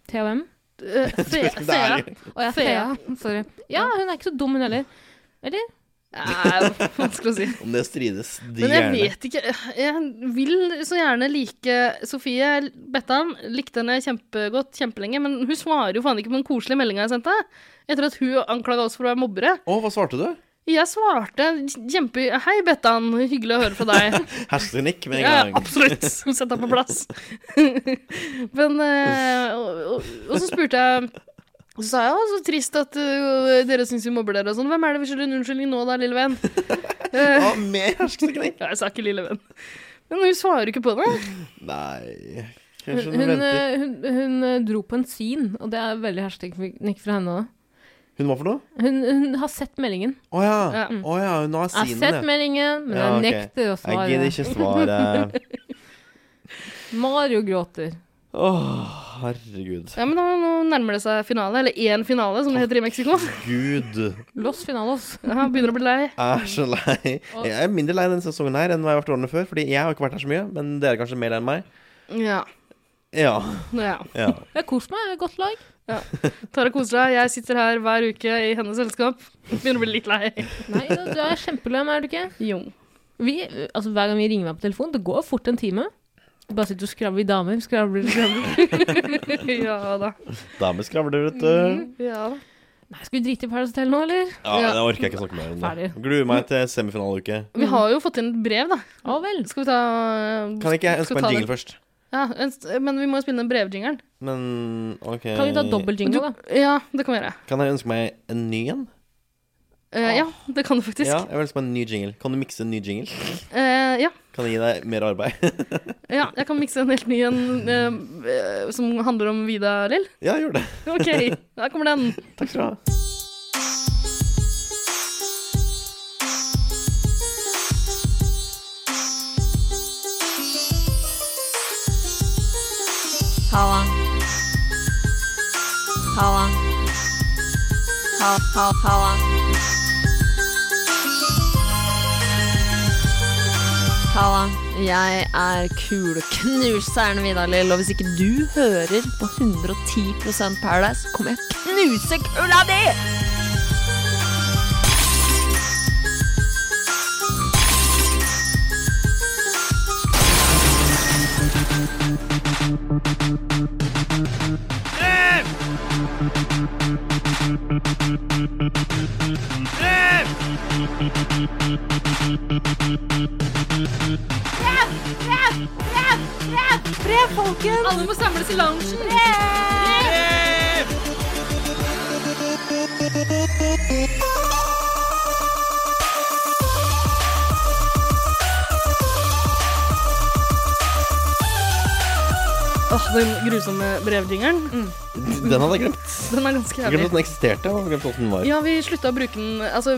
[SPEAKER 3] THM.
[SPEAKER 2] Eh, Thea.
[SPEAKER 1] Det
[SPEAKER 2] Thea.
[SPEAKER 1] er-
[SPEAKER 3] Og jeg
[SPEAKER 2] Thea.
[SPEAKER 3] Thea. Sorry. Ja, hun er ikke så dum, hun heller.
[SPEAKER 2] Nei, vanskelig å si.
[SPEAKER 1] Om det strides, de
[SPEAKER 2] Men jeg
[SPEAKER 1] gjerne.
[SPEAKER 2] vet ikke. Jeg vil så gjerne like Sofie Bettan. Likte henne kjempegodt kjempelenge, men hun svarer jo faen ikke på den koselige meldinga jeg sendte. Etter at hun anklaga oss for å være mobbere.
[SPEAKER 1] Å, hva svarte du?
[SPEAKER 2] Jeg svarte kjempe... Hei, Bettan. Hyggelig å høre fra deg.
[SPEAKER 1] Hersketeknikk med en
[SPEAKER 2] Ja,
[SPEAKER 1] gang.
[SPEAKER 2] absolutt. Sett deg på plass. Men eh, og, og, og så spurte jeg så sa jeg «Å, så trist at eh, dere syns vi mobber dere og sånn. Hvem er det vi skylder en unnskyldning nå da, lille venn? Eh,
[SPEAKER 1] Ja, Ah, med hersketeknikk.
[SPEAKER 2] Ja, jeg sa ikke lille venn. Men hun svarer ikke på det.
[SPEAKER 1] Nei Kanskje hun
[SPEAKER 3] Hun, hun,
[SPEAKER 1] venter.
[SPEAKER 3] eh, hun, hun eh, dro på en scene, og det er veldig hersketeknikk fra henne òg.
[SPEAKER 1] Hun hva for noe?
[SPEAKER 3] Hun, hun har sett meldingen.
[SPEAKER 1] Å ja.
[SPEAKER 2] Ja.
[SPEAKER 1] Å ja, hun har
[SPEAKER 3] Mm. Jeg har
[SPEAKER 1] sinen, ja.
[SPEAKER 3] sett meldingen, men
[SPEAKER 1] Ja,
[SPEAKER 3] jeg
[SPEAKER 1] ok.
[SPEAKER 3] nekter å
[SPEAKER 1] Jeg
[SPEAKER 3] svare.
[SPEAKER 1] gidder ikke svare.
[SPEAKER 3] Mario gråter.
[SPEAKER 1] Åh, herregud.
[SPEAKER 2] Ja, men da, Nå nærmer det seg finale, eller én finale, som det heter i Mexico.
[SPEAKER 1] Gud.
[SPEAKER 3] Los finalos.
[SPEAKER 2] Ja, han begynner å bli lei.
[SPEAKER 1] Jeg er så lei. Jeg er mindre lei denne sesongen her enn hva jeg har vært årene før. Fordi jeg har ikke vært her så mye, men dere er kanskje mer lei enn meg.
[SPEAKER 2] Ja.
[SPEAKER 1] Ja.
[SPEAKER 2] ja.
[SPEAKER 1] ja.
[SPEAKER 3] Jeg har kost meg. jeg har Godt lag.
[SPEAKER 2] Tara koser seg. Jeg sitter her hver uke i hennes selskap. Begynner å bli litt lei.
[SPEAKER 3] Nei, da, du er kjempeløm, er du ikke?
[SPEAKER 2] Jo.
[SPEAKER 3] Vi, altså, hver gang vi ringer meg på telefon, det går fort en time. Vi bare sitter og skravler vi damer. Skravler, skravler.
[SPEAKER 2] Ja da.
[SPEAKER 1] Damer skravler, vet
[SPEAKER 3] Mm.
[SPEAKER 1] du.
[SPEAKER 2] Ja da.
[SPEAKER 3] Nei, skal vi drite i Paradise Hotel nå, eller?
[SPEAKER 1] Ja, Det orker jeg ikke snakke mer om. det
[SPEAKER 3] Ferdig.
[SPEAKER 1] Gruer meg til semifinaleuke.
[SPEAKER 2] Vi har jo fått inn et brev, da.
[SPEAKER 3] Å vel.
[SPEAKER 2] Skal vi ta
[SPEAKER 1] Kan ikke jeg ønske
[SPEAKER 2] Skal
[SPEAKER 1] meg
[SPEAKER 2] vi ta
[SPEAKER 1] en
[SPEAKER 2] det?
[SPEAKER 1] jingle først?
[SPEAKER 2] Ja, en st- Men vi må jo spille den brevjingeren.
[SPEAKER 1] Men OK
[SPEAKER 3] Kan vi ta dobbel jingle, da?
[SPEAKER 2] Ja, det kan vi gjøre.
[SPEAKER 1] Kan jeg ønske meg en ny en?
[SPEAKER 3] Ah.
[SPEAKER 2] Eh, ja, det kan du faktisk.
[SPEAKER 1] Ja, jeg vil ønske meg en ny jingle. Kan du mikse en ny jingle?
[SPEAKER 2] Eh, ja.
[SPEAKER 1] Kan jeg gi deg mer arbeid?
[SPEAKER 2] ja. Jeg kan mikse en helt ny en eh, eh, som handler om Vida Lill.
[SPEAKER 1] ja, gjør det.
[SPEAKER 2] OK, der kommer den.
[SPEAKER 1] Takk skal du ha.
[SPEAKER 4] Halla. Halla. Ha- ha- Halla. Halla. Jeg er kuleknuseren Vidar Lill, og hvis ikke du hører på 110 Paradise, kommer jeg til å knuse kula di!
[SPEAKER 5] Brev!
[SPEAKER 2] Alle må samles i loungen! Åh, den grusomme brevjingeren.
[SPEAKER 3] Mm.
[SPEAKER 1] Den hadde jeg glemt.
[SPEAKER 2] Den er ganske
[SPEAKER 1] Jeg glemte
[SPEAKER 2] jævlig.
[SPEAKER 1] at den eksisterte. og glemt at den var
[SPEAKER 2] Ja, vi slutta å bruke den Altså,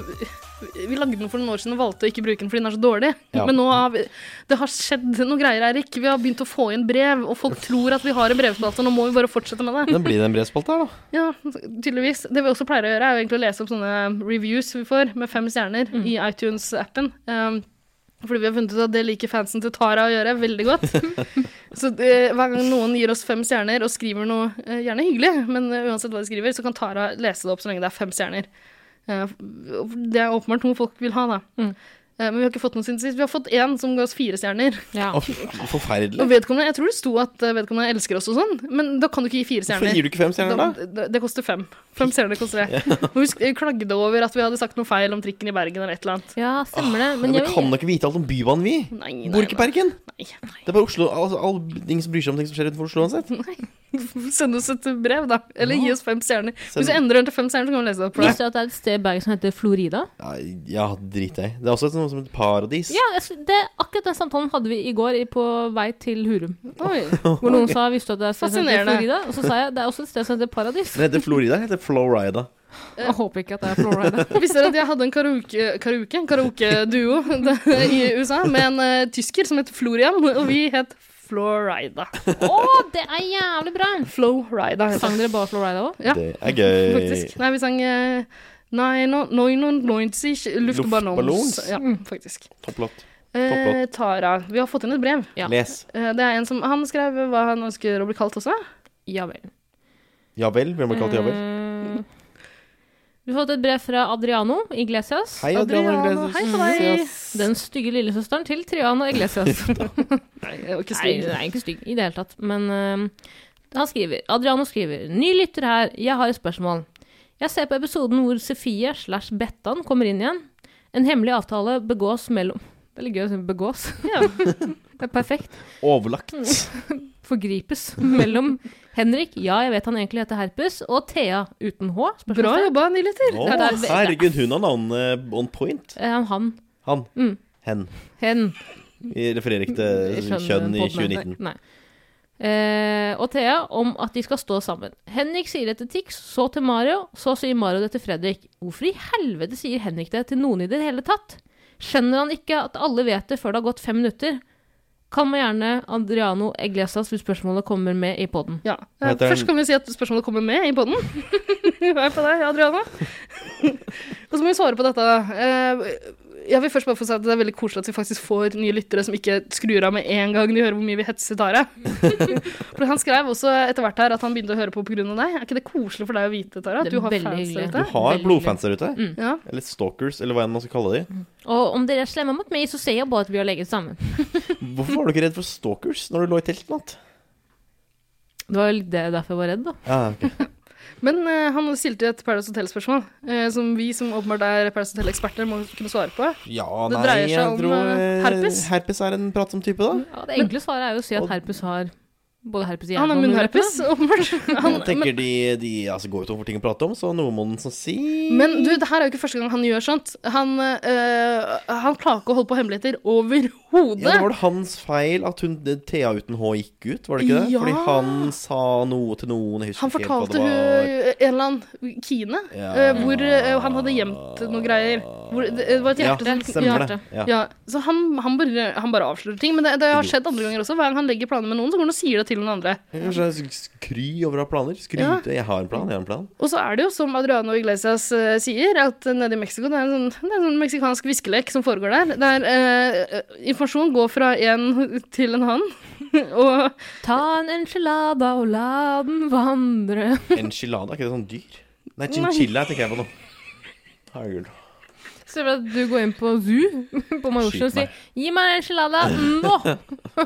[SPEAKER 2] vi lagde den for noen år siden og valgte å ikke bruke den fordi den er så dårlig.
[SPEAKER 1] Ja.
[SPEAKER 2] Men nå har vi Det har skjedd noen greier, Eirik. Vi har begynt å få inn brev, og folk tror at vi har en brevspalte. Nå må vi bare fortsette med det.
[SPEAKER 1] Den blir det en brevspalte her, da.
[SPEAKER 2] Ja, tydeligvis. Det vi også pleier å gjøre, er jo egentlig å lese opp sånne reviews vi får med fem stjerner i iTunes-appen. Um, fordi vi har funnet ut at det liker fansen til Tara å gjøre veldig godt. så det, hver gang noen gir oss fem stjerner og skriver noe eh, gjerne hyggelig, men eh, uansett hva de skriver, så kan Tara lese det opp så lenge det er fem stjerner. Eh, og det er åpenbart noe folk vil ha, da.
[SPEAKER 3] Mm.
[SPEAKER 2] Eh, men vi har ikke fått noen siden sist. Vi har fått én som ga oss fire stjerner.
[SPEAKER 3] Ja.
[SPEAKER 1] Å, fy- forferdelig.
[SPEAKER 2] Og vedkommende, jeg tror det sto at eh, vedkommende elsker oss og sånn, men da kan du ikke gi fire
[SPEAKER 1] Hvorfor
[SPEAKER 2] stjerner.
[SPEAKER 1] gir du ikke fem stjerner, da?
[SPEAKER 2] Da- Det, det koster fem. Fem stjerner koster det. Og Husk, jeg klagde over at vi hadde sagt noe feil om trikken i Bergen eller et eller annet.
[SPEAKER 3] ja, stemmer det. Men
[SPEAKER 1] Men
[SPEAKER 3] jeg,
[SPEAKER 1] vi kan da ikke vite alt om Bybanen, vi.
[SPEAKER 2] Nei, nei,
[SPEAKER 1] Bor ikke i Bergen.
[SPEAKER 2] nei.
[SPEAKER 1] Det er bare Oslo. Altså, alle ingen som bryr seg om ting som skjer utenfor Oslo uansett.
[SPEAKER 2] nei. Send oss et brev, da. Eller gi oss fem stjerner.
[SPEAKER 1] Send-
[SPEAKER 2] Hvis du endrer den til fem stjerner, så kan vi lese det opp. for deg.
[SPEAKER 3] Visste du at det er et sted i Bergen som heter Florida?
[SPEAKER 1] Nei, Ja, drit deg. Det er også et sånt som et paradis.
[SPEAKER 3] Ja, jeg sy- det, akkurat den samtalen hadde vi i går i- på vei til Hurum.
[SPEAKER 2] Oi.
[SPEAKER 3] Hvor noen sa 'visste du at det er et sted som heter
[SPEAKER 2] Fascinerende.
[SPEAKER 3] Florida?' Og så sa jeg 'det er også et sted som heter Paradis'.
[SPEAKER 1] Den heter Florida. Den heter Florida.
[SPEAKER 3] Jeg håper ikke at det er Florida.
[SPEAKER 2] Visste dere at jeg hadde en karaoke, karaoke, karaoke-duo i USA med en eh, tysker som het Florian, og vi het Florida.
[SPEAKER 3] Å, det er jævlig bra!
[SPEAKER 2] Florida heter
[SPEAKER 3] Sang dere bare Florida òg?
[SPEAKER 2] Ja.
[SPEAKER 1] Det er gøy.
[SPEAKER 2] faktisk. Nei, vi sang eh, Nei, no, noi, no, noinzig, luftballons.
[SPEAKER 1] Luftballons?
[SPEAKER 2] Ja, faktisk.
[SPEAKER 1] Topplåt.
[SPEAKER 2] Eh,
[SPEAKER 1] Topplåt.
[SPEAKER 2] Tara, vi har fått inn et brev.
[SPEAKER 3] Ja.
[SPEAKER 1] Les.
[SPEAKER 2] Eh, Det er en som, Han skrev hva han ønsker å bli kalt også.
[SPEAKER 3] Ja vel.
[SPEAKER 1] Ja vel? Hvem har kalt det ja
[SPEAKER 2] Mm.
[SPEAKER 1] vel?
[SPEAKER 3] Eh, Vi har fått et brev fra Adriano Iglesias.
[SPEAKER 1] Hei, Adriana
[SPEAKER 2] Adriana,
[SPEAKER 1] Iglesias.
[SPEAKER 2] hei på deg.
[SPEAKER 3] Den stygge lillesøsteren til Triana Iglesias.
[SPEAKER 2] Nei, jeg var ikke
[SPEAKER 3] Nei,
[SPEAKER 2] stygg.
[SPEAKER 3] hun er ikke stygg i det hele tatt. Men øhm, han skriver Adriano skriver Ny lytter her, jeg har et spørsmål. Jeg ser på episoden hvor Sofie slash Bettan kommer inn igjen. En hemmelig avtale begås mellom Veldig gøy å si begås.
[SPEAKER 2] Ja.
[SPEAKER 3] Det er perfekt.
[SPEAKER 1] Overlagt.
[SPEAKER 2] Mm.
[SPEAKER 3] Forgripes mellom Henrik, ja, jeg vet han egentlig heter Herpes, og Thea uten H. spørsmålstegn.
[SPEAKER 2] Bra jobba, Nyletter.
[SPEAKER 1] Å, herregud, hun har navnet on point.
[SPEAKER 3] Eh, han.
[SPEAKER 1] Han.
[SPEAKER 3] Mm.
[SPEAKER 1] Hen.
[SPEAKER 3] Hen.
[SPEAKER 1] Vi refererer ikke
[SPEAKER 3] Jeg
[SPEAKER 1] til
[SPEAKER 3] skjønner
[SPEAKER 1] eh, kjønn i
[SPEAKER 3] podden.
[SPEAKER 1] 2019.
[SPEAKER 3] Nei. Eh, og Thea om at de skal stå sammen. Henrik sier det til Tix, så til Mario, så sier Mario det til Fredrik. Hvorfor i helvete sier Henrik det til noen i det hele tatt? Skjønner han ikke at alle vet det før det har gått fem minutter? Kan man gjerne Adriano Eglesas hvis spørsmålet kommer med i poden.
[SPEAKER 2] Ja.
[SPEAKER 1] Hva heter
[SPEAKER 2] Først
[SPEAKER 1] den?
[SPEAKER 2] kan vi si at spørsmålet kommer med i poden. Hei på deg, Adriana. Og så må vi svare på dette. Eh, Jeg vil først bare få si at det er veldig koselig at vi faktisk får nye lyttere som ikke skrur av med en gang de hører hvor mye vi hetser Tara. For han skrev også etter hvert her at han begynte å høre på pga. deg. Er ikke det koselig for deg å vite, Tara? At
[SPEAKER 3] Det
[SPEAKER 2] du
[SPEAKER 3] er
[SPEAKER 2] har
[SPEAKER 3] veldig
[SPEAKER 2] fans der
[SPEAKER 3] hyggelig. Mm.
[SPEAKER 2] ute?
[SPEAKER 1] Du har
[SPEAKER 3] Veldig
[SPEAKER 1] blodfans der ute.
[SPEAKER 2] Ja.
[SPEAKER 1] Eller stalkers, eller hva enn man skal kalle de.
[SPEAKER 3] Og om dere er slemme mot meg, så ser jeg bare at vi har legget sammen.
[SPEAKER 1] Hvorfor var du ikke redd for stalkers når du lå i telt i natt?
[SPEAKER 3] Det var jo litt det derfor jeg var redd, da.
[SPEAKER 1] Ja, ok.
[SPEAKER 2] Men eh, han stilte et Paradise Hotel-spørsmål, eh, som vi som åpenbart er Paradise Hotel-eksperter, må kunne svare på.
[SPEAKER 1] ja
[SPEAKER 2] Det
[SPEAKER 1] nei,
[SPEAKER 2] dreier seg
[SPEAKER 1] jeg
[SPEAKER 2] om,
[SPEAKER 1] tror
[SPEAKER 2] eh, herpes.
[SPEAKER 1] Herpes er en pratsom type, da.
[SPEAKER 3] Ja, det enkle svaret er jo å si at herpes har både herpes i
[SPEAKER 2] Han har
[SPEAKER 3] hjernen og
[SPEAKER 2] munnherpes, åpenbart. Han,
[SPEAKER 1] Jeg tenker de, de altså, går jo tom for ting å prate om, så noe må den så si.
[SPEAKER 2] men du, det her er jo ikke første gang han gjør sånt. Han, eh, han klarer ikke å holde på hemmeligheter
[SPEAKER 1] Ja, det
[SPEAKER 2] overhodet.
[SPEAKER 1] var det hans feil at hun, Thea uten H gikk ut, var det ikke det?
[SPEAKER 2] Ja.
[SPEAKER 1] Fordi han sa noe til noen, jeg husker
[SPEAKER 2] han
[SPEAKER 1] ikke helt hva det
[SPEAKER 2] fortalte hun
[SPEAKER 1] var.
[SPEAKER 2] en eller annen kine,
[SPEAKER 1] Ja.
[SPEAKER 2] eh, hvor eh, han hadde gjemt noen greier. Hvor, det, det var et hjerte
[SPEAKER 1] ja,
[SPEAKER 2] som
[SPEAKER 1] stemmer
[SPEAKER 3] hjerte.
[SPEAKER 1] det. Ja.
[SPEAKER 2] Ja, så han, han, bare, han bare avslører ting. Men det, det har skjedd andre ganger også. Hver gang han legger planer med noen, så går han og sier det til noen andre.
[SPEAKER 1] Kanskje jeg skry over å ha planer.
[SPEAKER 2] Ja.
[SPEAKER 1] Skryte. Jeg har en plan, jeg har en plan.
[SPEAKER 2] Og så er det jo som Adriano Iglesias eh, sier, at nede i Mexico det er en sånn, det er en sånn meksikansk viskelek som foregår der. Der eh, informasjon går fra en til en annen. og
[SPEAKER 3] Ta en enchilada og la den vandre.
[SPEAKER 1] Enchilada, er ikke det sånn dyr? Nei, chinchilla tenker jeg på nå. Herregud.
[SPEAKER 3] Ser du at du går inn på Zoo på Majorstua og
[SPEAKER 1] Skyt meg.
[SPEAKER 3] sier 'gi meg en enchilada nå'.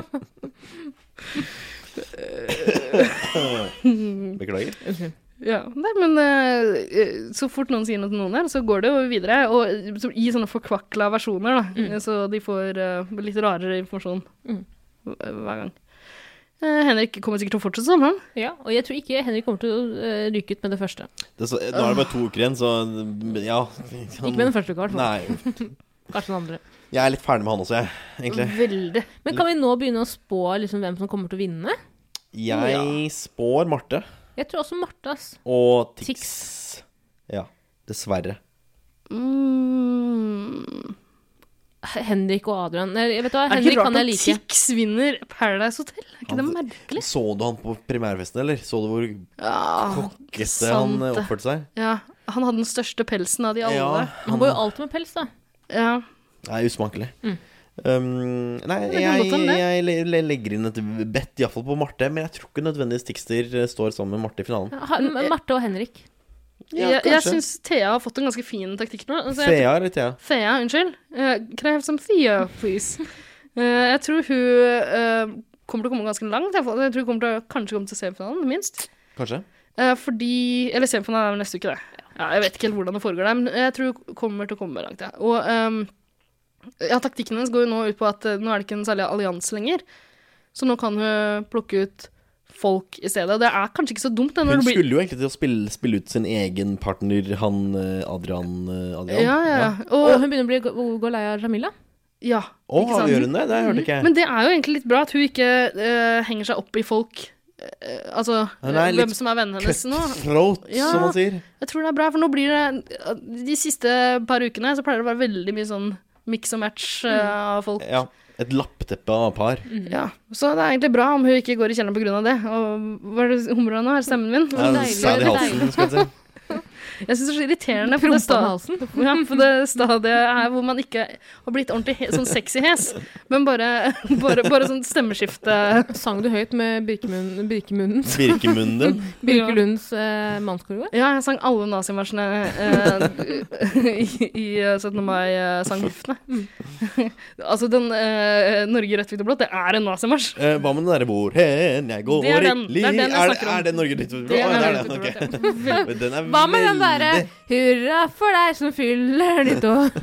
[SPEAKER 1] Beklager.
[SPEAKER 2] Ja, nei, men eh, så fort noen sier noe til noen her, så går det jo videre. Og så i sånne forkvakla versjoner, da. Så de får eh, litt rarere informasjon
[SPEAKER 3] Mm.
[SPEAKER 2] hver- hver gang. Eh, Henrik kommer sikkert til å fortsette sånn, han.
[SPEAKER 3] Ja, og jeg tror ikke Henrik kommer til å eh, ryke ut med det første.
[SPEAKER 1] Det, er så, nå er det bare to uker igjen, så ja
[SPEAKER 3] Ikke med den første uka, i hvert fall.
[SPEAKER 1] Nei.
[SPEAKER 3] Kanskje den andre.
[SPEAKER 1] Jeg er litt ferdig med han også, jeg, egentlig.
[SPEAKER 2] Veldig.
[SPEAKER 3] Men kan vi nå begynne å spå liksom, hvem som kommer til å vinne?
[SPEAKER 1] Jeg spår Marte
[SPEAKER 3] Jeg tror også Marte, ass.
[SPEAKER 1] og Tix.
[SPEAKER 3] Tix.
[SPEAKER 1] Ja. Dessverre.
[SPEAKER 2] Mm.
[SPEAKER 3] Henrik og Adrian. Nei, Jeg vet hva,
[SPEAKER 2] Er det
[SPEAKER 3] Henrik
[SPEAKER 2] ikke
[SPEAKER 3] kan
[SPEAKER 2] rart
[SPEAKER 3] jeg
[SPEAKER 2] at
[SPEAKER 3] like.
[SPEAKER 2] Tix vinner Paradise Hotel? Er ikke det
[SPEAKER 1] Han-
[SPEAKER 2] merkelig?
[SPEAKER 1] Så du han på primærfesten, eller? Så du hvor
[SPEAKER 2] Ja,
[SPEAKER 1] kokkete han eh,
[SPEAKER 2] sant det.
[SPEAKER 1] oppførte seg?
[SPEAKER 2] ja, han hadde den største pelsen av de alle.
[SPEAKER 1] Ja,
[SPEAKER 3] Han går jo alltid med pels, da.
[SPEAKER 2] Ja.
[SPEAKER 1] Nei, usmakelig.
[SPEAKER 3] Mm.
[SPEAKER 1] Um, nei,
[SPEAKER 2] Det kan
[SPEAKER 1] jeg,
[SPEAKER 2] godt hende.
[SPEAKER 1] jeg le- le- legger inn et bet, iallfall på Marte, men jeg tror ikke nødvendigvis Tixter eh, står sammen med Marte i finalen.
[SPEAKER 3] Ha- men eh, Marte og Henrik.
[SPEAKER 2] jeg jeg syns Thea har fått en ganske fin taktikk nå. Altså, jeg,
[SPEAKER 1] Thea eller Thea?
[SPEAKER 2] Thea, unnskyld. Eh, can I have some Thea, please? Eh, jeg tror hun eh, kommer til å komme ganske langt. Jeg tror hun kommer til å, kanskje kommer til semifinalen, minst.
[SPEAKER 1] Kanskje?
[SPEAKER 2] Eh, fordi Eller semifinalen er vel neste uke, det. Ja, jeg vet ikke helt hvordan det foregår der, men eh, jeg tror hun kommer til å komme langt. Ja. Og ehm, ja, taktikken hennes går jo nå ut på at eh, nå er det ikke en særlig allianse lenger. Så nå kan hun plukke ut folk i stedet. Og det er kanskje ikke så dumt. Det,
[SPEAKER 1] Hun
[SPEAKER 2] når det blir...
[SPEAKER 1] skulle jo egentlig til å spille, spille ut sin egen partner, han eh, Adrian. eh, Adrian.
[SPEAKER 2] Ja, ja, ja.
[SPEAKER 3] Og
[SPEAKER 2] Og,
[SPEAKER 3] hun begynner å bli gå, gå lei av Jamila.
[SPEAKER 2] ja.
[SPEAKER 1] Å,
[SPEAKER 2] Ikke sant?
[SPEAKER 1] avgjørende? Det hørte ikke jeg.
[SPEAKER 2] Men det er jo egentlig litt bra at hun ikke eh, henger seg opp i folk. eh, altså
[SPEAKER 1] Ja, nei, litt
[SPEAKER 2] hvem som er vennene hennes nå.
[SPEAKER 1] Cutthroat,
[SPEAKER 2] Ja.
[SPEAKER 1] som man sier.
[SPEAKER 2] Jeg tror det er bra, for nå blir det De siste par ukene så pleier det å være veldig mye sånn mix og match eh, av folk.
[SPEAKER 1] Ja. Et lappteppe av par.
[SPEAKER 2] Ja. Så det er egentlig bra om hun ikke går i kjelleren på grunn av det. Og hva er det humrer av nå? Er det stemmen min?
[SPEAKER 1] Ja,
[SPEAKER 3] deilig,
[SPEAKER 1] Sæd Eh, i
[SPEAKER 3] deilig.
[SPEAKER 1] halsen, skal jeg si.
[SPEAKER 2] Jeg syns det er så irriterende. For det
[SPEAKER 3] Prompa
[SPEAKER 2] sta-
[SPEAKER 3] med halsen.
[SPEAKER 2] Ja, på det stadiet her hvor man ikke har blitt ordentlig he sånn sexy hes, men bare, bare, bare sånn stemmeskifte.
[SPEAKER 3] Sang du høyt med Birkemun- Birkemundens
[SPEAKER 1] Birkemunnen din.
[SPEAKER 3] Birkelunds eh, mannskor i går?
[SPEAKER 2] Ja, jeg sang alle nazimarsjene eh, i, i eh, 17. mai-sanghoftene. altså, den eh, Norge i rødt, hvitt og blått, det er en nazimarsj.
[SPEAKER 1] Eh, hva med den derre hvor hen jeg går
[SPEAKER 2] Det er den.
[SPEAKER 1] i
[SPEAKER 2] Det er den jeg
[SPEAKER 1] er, det,
[SPEAKER 2] snakker om.
[SPEAKER 1] er det Norge ditt? Å,
[SPEAKER 2] Det
[SPEAKER 1] ja,
[SPEAKER 2] er
[SPEAKER 1] det er
[SPEAKER 2] Norge
[SPEAKER 1] den,
[SPEAKER 2] ditt,
[SPEAKER 1] ok. Men Den er
[SPEAKER 3] Hva med den derre
[SPEAKER 1] veldig,
[SPEAKER 3] 'hurra for deg som fyller ditt år'?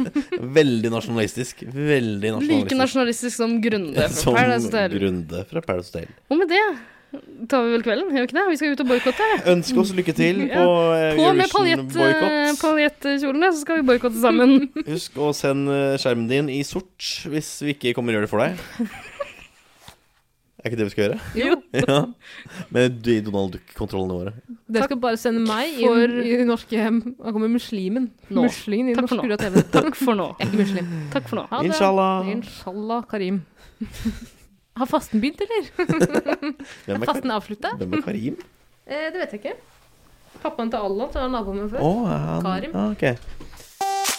[SPEAKER 1] veldig nasjonalistisk. Veldig
[SPEAKER 2] eh, Like
[SPEAKER 1] nasjonalistisk.
[SPEAKER 2] nasjonalistisk som Grunde.
[SPEAKER 1] Som
[SPEAKER 2] Her er det sånn der.
[SPEAKER 1] Grunde fra Paradise Hotel.
[SPEAKER 2] Og med det tar vi vel kvelden, gjør vi ikke det? Vi skal ut og boikotte.
[SPEAKER 1] Ønske oss lykke til på eh,
[SPEAKER 2] På med paljett- eh,
[SPEAKER 1] Eurovision-boikott.
[SPEAKER 2] paljettkjolene, så skal vi boikotte sammen.
[SPEAKER 1] Husk å sende eh, skjermen din i sort hvis vi ikke kommer og gjør det for deg. Er ikke det vi skal gjøre?
[SPEAKER 3] Jo.
[SPEAKER 1] Ja. Med de Donald Duck-kontrollene våre.
[SPEAKER 3] Dere skal bare sende meg i,
[SPEAKER 2] for-
[SPEAKER 3] i norske Han kommer muslimen.
[SPEAKER 2] Nå.
[SPEAKER 3] Muslingen i
[SPEAKER 2] Takk
[SPEAKER 3] norsk
[SPEAKER 2] for nå.
[SPEAKER 3] skru av TV.
[SPEAKER 2] Takk for nå.
[SPEAKER 3] Jeg er ikke muslim.
[SPEAKER 2] Takk for nå.
[SPEAKER 3] Ha det.
[SPEAKER 1] Inshallah.
[SPEAKER 3] Inshallah, Karim. Har fasten begynt, eller?
[SPEAKER 1] Hvem er,
[SPEAKER 3] Fasten er avslutta?
[SPEAKER 1] Kar- hvem er Karim?
[SPEAKER 3] Eh, det vet jeg ikke. Pappaen til Allan, som er naboen min
[SPEAKER 1] Å,
[SPEAKER 3] før.
[SPEAKER 1] er han
[SPEAKER 3] Karim.
[SPEAKER 1] Ah, ok.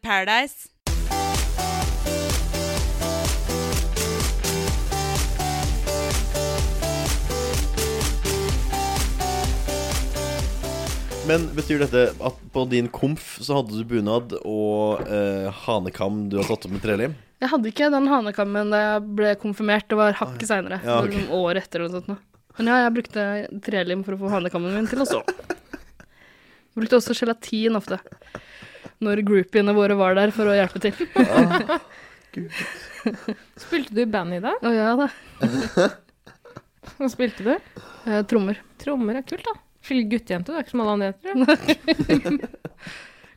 [SPEAKER 5] Paradise.
[SPEAKER 1] Men betyr dette at på din komf så hadde du bunad og eh, hanekam du har satt opp med trelim?
[SPEAKER 2] Jeg hadde ikke den hanekammen da jeg ble konfirmert. Det var hakket seinere.
[SPEAKER 1] Ja, ok.
[SPEAKER 2] Liksom år etter eller noe sånt. nå. Men ja, jeg brukte trelim for å få hanekammen min til også. Jeg brukte også gelatin ofte. Når groupiene våre var der for å hjelpe til.
[SPEAKER 3] Spilte du i band i dag?
[SPEAKER 2] Å ja da.
[SPEAKER 3] Hva spilte du?
[SPEAKER 2] Eh, Trommer.
[SPEAKER 3] Trommer er kult, da. Skikkelig guttejente, du er ikke som alle andre jenter. du.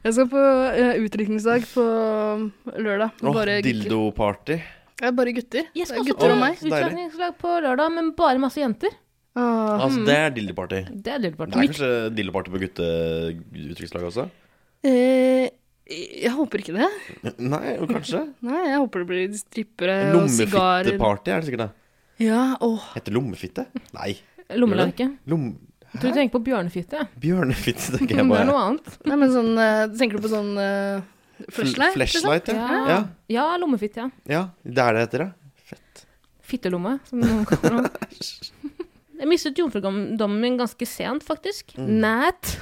[SPEAKER 2] Jeg skal på eh, utdrikningsdag på um, lørdag. med
[SPEAKER 1] Åh,
[SPEAKER 2] bare gutter.
[SPEAKER 1] dildoparty.
[SPEAKER 2] Det er bare gutter.
[SPEAKER 3] Jeg
[SPEAKER 2] Det
[SPEAKER 3] skal
[SPEAKER 2] er
[SPEAKER 3] også
[SPEAKER 2] gutter og
[SPEAKER 1] på-
[SPEAKER 2] meg.
[SPEAKER 1] Så deilig.
[SPEAKER 3] Utslagningslag på lørdag, men bare masse jenter.
[SPEAKER 2] Åh.
[SPEAKER 1] Altså, det er dildoparty.
[SPEAKER 3] Det er
[SPEAKER 1] Det
[SPEAKER 3] dildoparty.
[SPEAKER 1] er kanskje dildoparty på gutteutrykkslaget også?
[SPEAKER 2] Eh, jeg håper ikke det.
[SPEAKER 1] Nei, jo, kanskje.
[SPEAKER 2] Nei, jeg håper det blir strippere og sigarer.
[SPEAKER 1] Lommefitteparty er det sikkert det.
[SPEAKER 2] Ja, åh.
[SPEAKER 1] Heter det lommefitte? Nei.
[SPEAKER 3] Lommelerke.
[SPEAKER 1] Lom...
[SPEAKER 3] Jeg tror du tenker på bjørnefitte. jeg.
[SPEAKER 1] Bjørnefitte, tenker
[SPEAKER 3] Det
[SPEAKER 1] jeg
[SPEAKER 3] er
[SPEAKER 1] bare.
[SPEAKER 3] noe annet.
[SPEAKER 2] Nei, men sånn eh, Tenker du på sånn eh, flashlight? liksom?
[SPEAKER 1] Flashlight, ja.
[SPEAKER 3] Ja, ja lommefitte, ja.
[SPEAKER 1] ja. Det er det heter, ja. Fett.
[SPEAKER 3] Fittelomme, som noen kaller det. Jeg mistet jomfrudommen min ganske sent, faktisk. Næt.